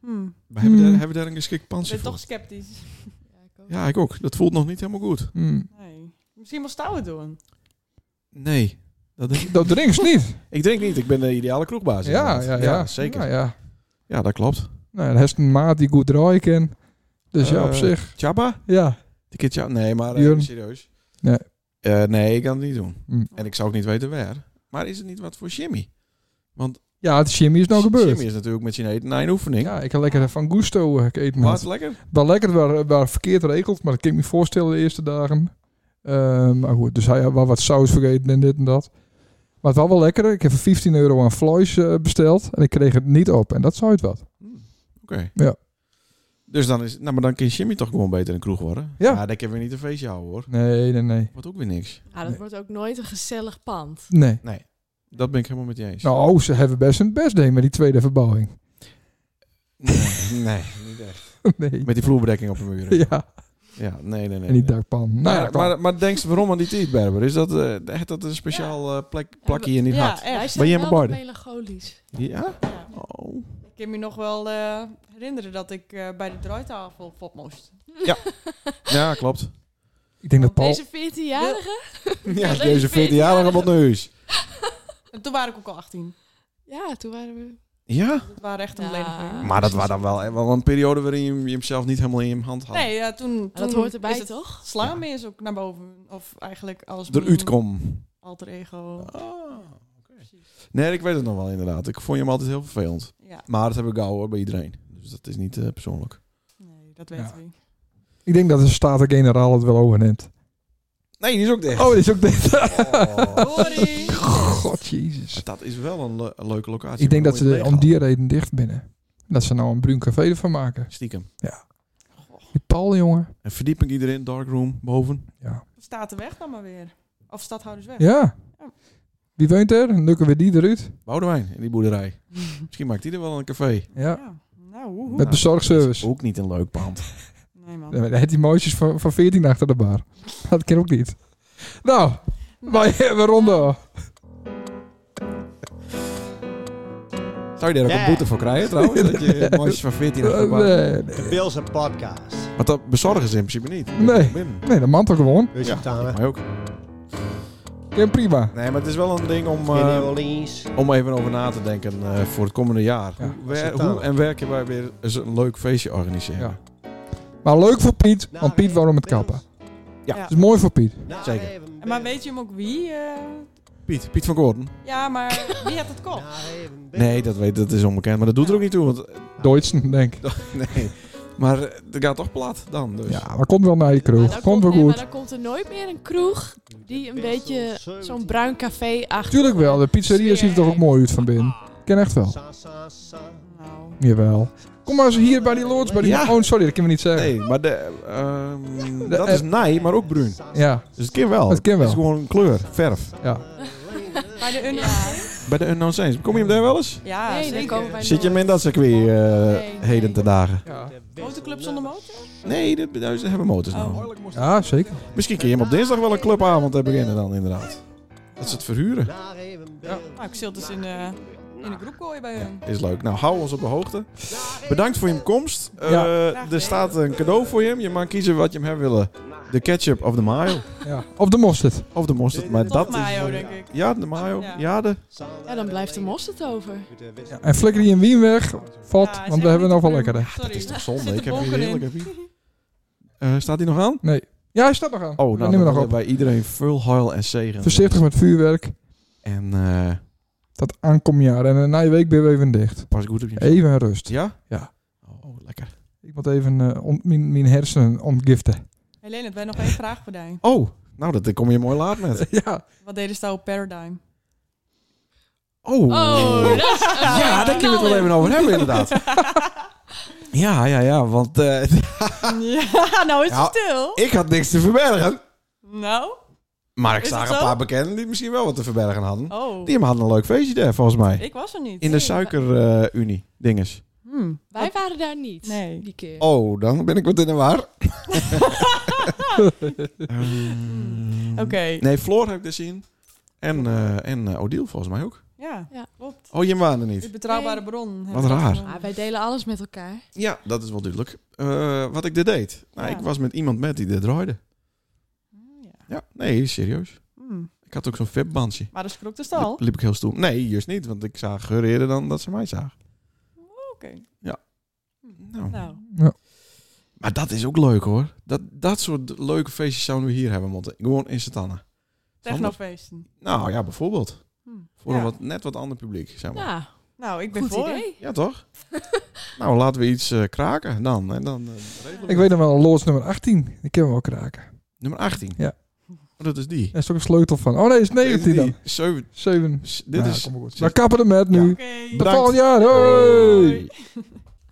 E: Hm.
B: We hebben,
A: Hmm.
B: daar, hebben we daar een geschikt
E: Ik
B: pandje
E: ben
B: voor?
E: toch sceptisch.
F: Ja, ik ook.
B: Ja, ik ook. Dat voelt nog niet helemaal goed.
A: Hm.
E: Nee. Misschien wel stouwen doen.
B: Nee.
A: [laughs]
B: Dat denk ik.
A: Dat drinkt niet.
B: [laughs] ik denk niet. Ik ben de ideale kroegbaas.
A: ja,
B: inderdaad.
A: ja, ja.
B: Zeker.
A: Ja,
B: Ja,
A: ja.
B: dat klopt.
A: Nou, dan heeft een maat die goed draaien kan. Dus ja, op
B: Eh,
A: zich.
B: Tjabba?
A: Ja.
B: Die keer Tjabba? Nee, maar eh,
A: Björn.
B: serieus.
A: Nee.
B: Eh, nee, ik kan het niet doen.
A: Hm.
B: En ik zou ook niet weten waar. Maar is het niet wat voor Jimmy?
A: Ja, het Jimmy is nou gebeurd.
B: Jimmy is natuurlijk met zijn eten naar een oefening.
A: Ja, ik heb lekker van Gusto eh, eten.
B: Maar het
A: gehad.
B: is lekker.
A: Wel lekker, waar, waar verkeerd regeld. Maar dat kan ik me voorstellen de eerste dagen. Eh, maar goed, dus hij had wel wat saus vergeten en dit en dat. Maar het was wel lekker. Ik heb voor 15 euro aan Floys eh, besteld. En ik kreeg het niet op. En dat zou het wat.
B: Oké.
A: Ja.
B: Dus dan is... Nou, maar dan kan Jimmy toch gewoon beter een kroeg worden?
A: Ja.
B: Ja, dat kan weer niet een feestje houden, hoor.
A: Nee, nee, nee.
B: Wordt ook weer niks.
F: Ah, dat wordt ook nooit een gezellig pand.
A: Nee.
B: Nee. Dat ben ik helemaal met je eens.
A: Nou, ze hebben best hun best deed met die tweede verbouwing. [laughs]
B: Nee, nee, niet echt.
A: nee.
B: Met die vloerbedekking op de muren. Ja,
A: [laughs] Ja,
B: nee, nee, nee.
A: en
B: nee.
A: die dakpan. Nou,
B: Maar, maar, maar denk ze waarom aan die tietberber? Is dat, eh, heeft dat een speciaal eh, plek, plakje in die
E: ja,
B: hart?
E: echt.
B: Ben jij met
F: wel
B: Barden?
F: melancholisch.
B: Ja?
E: Ja.
B: Oh.
E: Ik kan me nog wel eh, herinneren dat ik eh, bij de draaitafel pop moest.
B: Ja, klopt.
A: ik denk dat Paul...
F: Deze 14-jarige?
B: [laughs] ja,
F: deze
B: deze 14-jarige
F: 14-jarige
B: wat nu is.
E: En toen waren ik ook al 18.
F: Ja, toen waren we...
B: Ja?
E: Dat waren echt een belediging.
B: Maar dat was dan wel, eh, wel een periode waarin je hem- je hem zelf niet helemaal in je hand had.
E: Nee, ja, toen, toen
F: dat hoort erbij,
E: is het
F: toch?
E: Slaan is ook naar boven. Of eigenlijk als...
B: Eruit kom.
E: Alter ego.
B: Nee, ik weet het nog wel inderdaad. Ik vond je hem altijd heel vervelend.
E: Ja.
B: Maar dat heb ik gauw hoor, bij iedereen. Dus dat is niet eh, persoonlijk.
E: Dat weten we.
A: Ik denk dat de Staten-Generaal het wel overneemt.
B: Nee, die is ook dicht.
A: Oh, die is ook dicht.
E: Sorry.
A: God, jezus.
B: Oh. Dat is wel een, le- een leuke locatie.
A: Ik denk dat
B: maar
A: ze
B: dan
A: er
B: moet
A: om
B: je
A: die reden dicht binnen. Dat ze nou een bruin café ervan maken.
B: het Stiekem.
A: Ja. Die Paul, jongen.
B: En verdieping iedereen, darkroom, boven.
A: Ja.
E: Staat de weg dan maar weer. Of stadhoudersweg.
A: Ja. Wie woont er? Dan lukken we die eruit.
B: Boudewijn in die
E: [laughs]
B: boerderij. Misschien maakt die er wel een café.
A: Ja.
E: Nou, hoe,
A: Met bezorgservice.
B: Ook niet een leuk pand.
A: Dan heeft die mooisjes van, van 14 achter de bar. [laughs] Dat kan ook niet. Nou, wij [laughs] hebben ronden.
B: Zou je daar ook
C: Ja.
B: een boete voor krijgen trouwens? Dat
A: [laughs]
B: je mooisjes van 14 achter de bar-
A: Nee, nee.
C: De Bilse podcast.
B: Want dat bezorgen ze in principe niet.
A: Nee,
B: Binnen.
A: nee dat man toch gewoon.
C: Dus ja.
B: Mij ook.
A: Ken prima.
B: Nee, maar het is wel een ding om,
C: Skinny
B: eh,
C: Orleans.
B: om even over na te denken eh, voor het komende jaar. Hoe, wer-
C: Acceptabel.
B: hoe en werken wij weer eens een leuk feestje organiseren?
A: Maar leuk voor Piet, want Piet waarom het kappen.
B: Ja. Nou,
A: Dat is mooi voor Piet.
B: Zeker.
E: En maar weet je hem ook wie? eh?
B: Piet, Piet van Gordon.
E: ja, maar wie had het kop?
B: Nee, dat, weet, dat is onbekend, maar dat doet er ook niet toe. Want,
A: Deutschen, denk ik.
B: [laughs] nee, maar eh, dat gaat toch plat dan dus.
A: Ja, Ah, maar komt wel naar je
F: Maar
A: kroeg.
F: dan
A: Komt wel
F: nee, maar
A: goed.
F: dan komt er nooit meer een kroeg die een beetje zo'n bruin café achter.
A: Tuurlijk wel, de pizzeria ziet er toch ook mooi uit van binnen. Ken echt wel. Jawel. Kom maar eens hier bij die lords, bij die...
B: Ja.
A: Oh, sorry, dat kunnen we niet zeggen.
B: Nee, maar de, ehm,
A: De
B: dat is
A: app.
B: nij, maar ook bruin.
A: Ja.
B: Dus het kan wel.
A: Het kan wel.
B: is gewoon een kleur, verf.
A: Ja.
E: Bij de Unna.
B: Bij de Unknown Saints. Kom je hem daar wel eens?
E: Ja,
F: Nee, daar
E: zeker.
F: komen wij
B: Zit je hem in dat circuit eh, heden te dagen?
E: Motoclub zonder motor?
B: Nee, de, de, ze hebben motors nou.
A: Ja, zeker.
B: Misschien kun je hem op dinsdag wel een clubavond hebben beginnen dan inderdaad. Dat ze het verhuren.
E: Nou, ik zit dus in de, in de groep gooien bij hun.
B: Is leuk. Nou, hou ons op de hoogte. Bedankt voor je komst. Eh,
A: Ja.
B: Er staat een cadeau voor je. Je mag kiezen wat je hem hebben willen. De ketchup of de mayo.
A: Ja. Of de mosterd.
B: Of de mosterd. Maar dat
F: mayo,
B: is...
F: denk ik.
B: Ja, de mayo. Ja, de...
F: Ja, dan blijft de mosterd over.
A: En flikker die in Wien weg. Valt,
F: Ja, is
A: want we hebben nog wel lekkere.
E: Dat
B: is toch zonde?
A: Zit
B: Ik
A: de
B: heb hier
A: bonken in.
B: heerlijk. Eh, staat die nog aan?
A: Nee. Ja, hij staat nog aan.
B: Oh, nou,
A: neem
B: dan
A: nog op.
B: bij iedereen veel huil en zegen.
A: Voorzichtig met vuurwerk.
B: En eh,
A: Dat aankomjaar. En na je week ben je even dicht.
B: pas goed op je...
A: Even rust.
B: Ja?
A: Ja. [laughs]
B: Oh, lekker.
A: Ik moet even eh, ont- mijn, mijn hersenen ontgiften.
E: Hey Lennart, wij nog één vraag voor jou.
B: Oh, nou, dat kom je mooi laat met.
A: Ja.
E: Wat deden ze nou op
B: [laughs]
E: Paradigm?
B: Oh. [laughs] ja, daar kunnen we het wel even over hebben,
E: [laughs]
B: inderdaad. ja, ja, ja, want eh,
E: ja, nou is
B: Nou,
E: het stil.
B: ik had niks te verbergen.
E: Nou,
B: Maar ik
E: Is
B: zag
E: het
B: een
E: zo?
B: paar bekenden die misschien wel wat te verbergen hadden.
E: Oh.
B: Die hadden een leuk feestje daar, volgens mij.
E: ik was er niet.
B: In de
E: Nee.
B: suikerunie, dinges.
E: Hmm.
F: Wij waren daar niet die keer.
B: Oh, dan ben ik wat in
E: [laughs]
B: de war.
E: Oké.
B: Ehm, Nee, Floor heb ik gezien. En, eh, en eh, Odile volgens mij ook.
E: Ja, klopt.
B: Oh, je waren er
E: De
B: niet.
E: betrouwbare bron.
B: Wat raar.
F: Maar wij delen alles met elkaar.
B: Ja, dat is wel duidelijk. Eh, wat ik dit deed. Nou,
F: Ja.
B: ik was met iemand met die dit draaide.
E: Mm,
B: Ja. nee, serieus.
E: Hmm.
B: Ik had ook zo'n vip-bandje.
E: Maar dat schrok de stal.
B: Liep ik heel stoel. Nee, juist niet, want ik zag haar eerder dan dat ze mij zag.
E: Oké.
B: Ja. Nou.
E: Nou.
B: Maar dat is ook leuk hoor. Dat, dat soort leuke feestjes zouden we hier hebben moeten. Gewoon in Santana.
E: Technofeesten.
B: Nou ja, bijvoorbeeld.
E: Hm.
B: Voor
E: Ja.
B: een wat, net wat ander publiek, zeg maar.
F: Ja.
E: Nou, ik ben
F: Goed
E: voor.
F: idee.
B: Ja, toch?
E: [laughs]
B: nou, laten we iets eh, kraken dan. En dan eh, regelen we
A: Ik weet nog wel, loods nummer 18. Die kunnen we wel kraken.
B: Nummer 18.
A: Ja.
B: Oh, dat is die.
A: Daar is ook een sleutel van. Oh nee, is 19 dan. Nou,
B: Zeven.
A: 7.
B: Dit
A: Ja,
B: is...
A: kom maar goed. Nou, kappen er met nu.
B: Bedankt.
A: Tot volgend jaar. Hoi.
B: Hoi.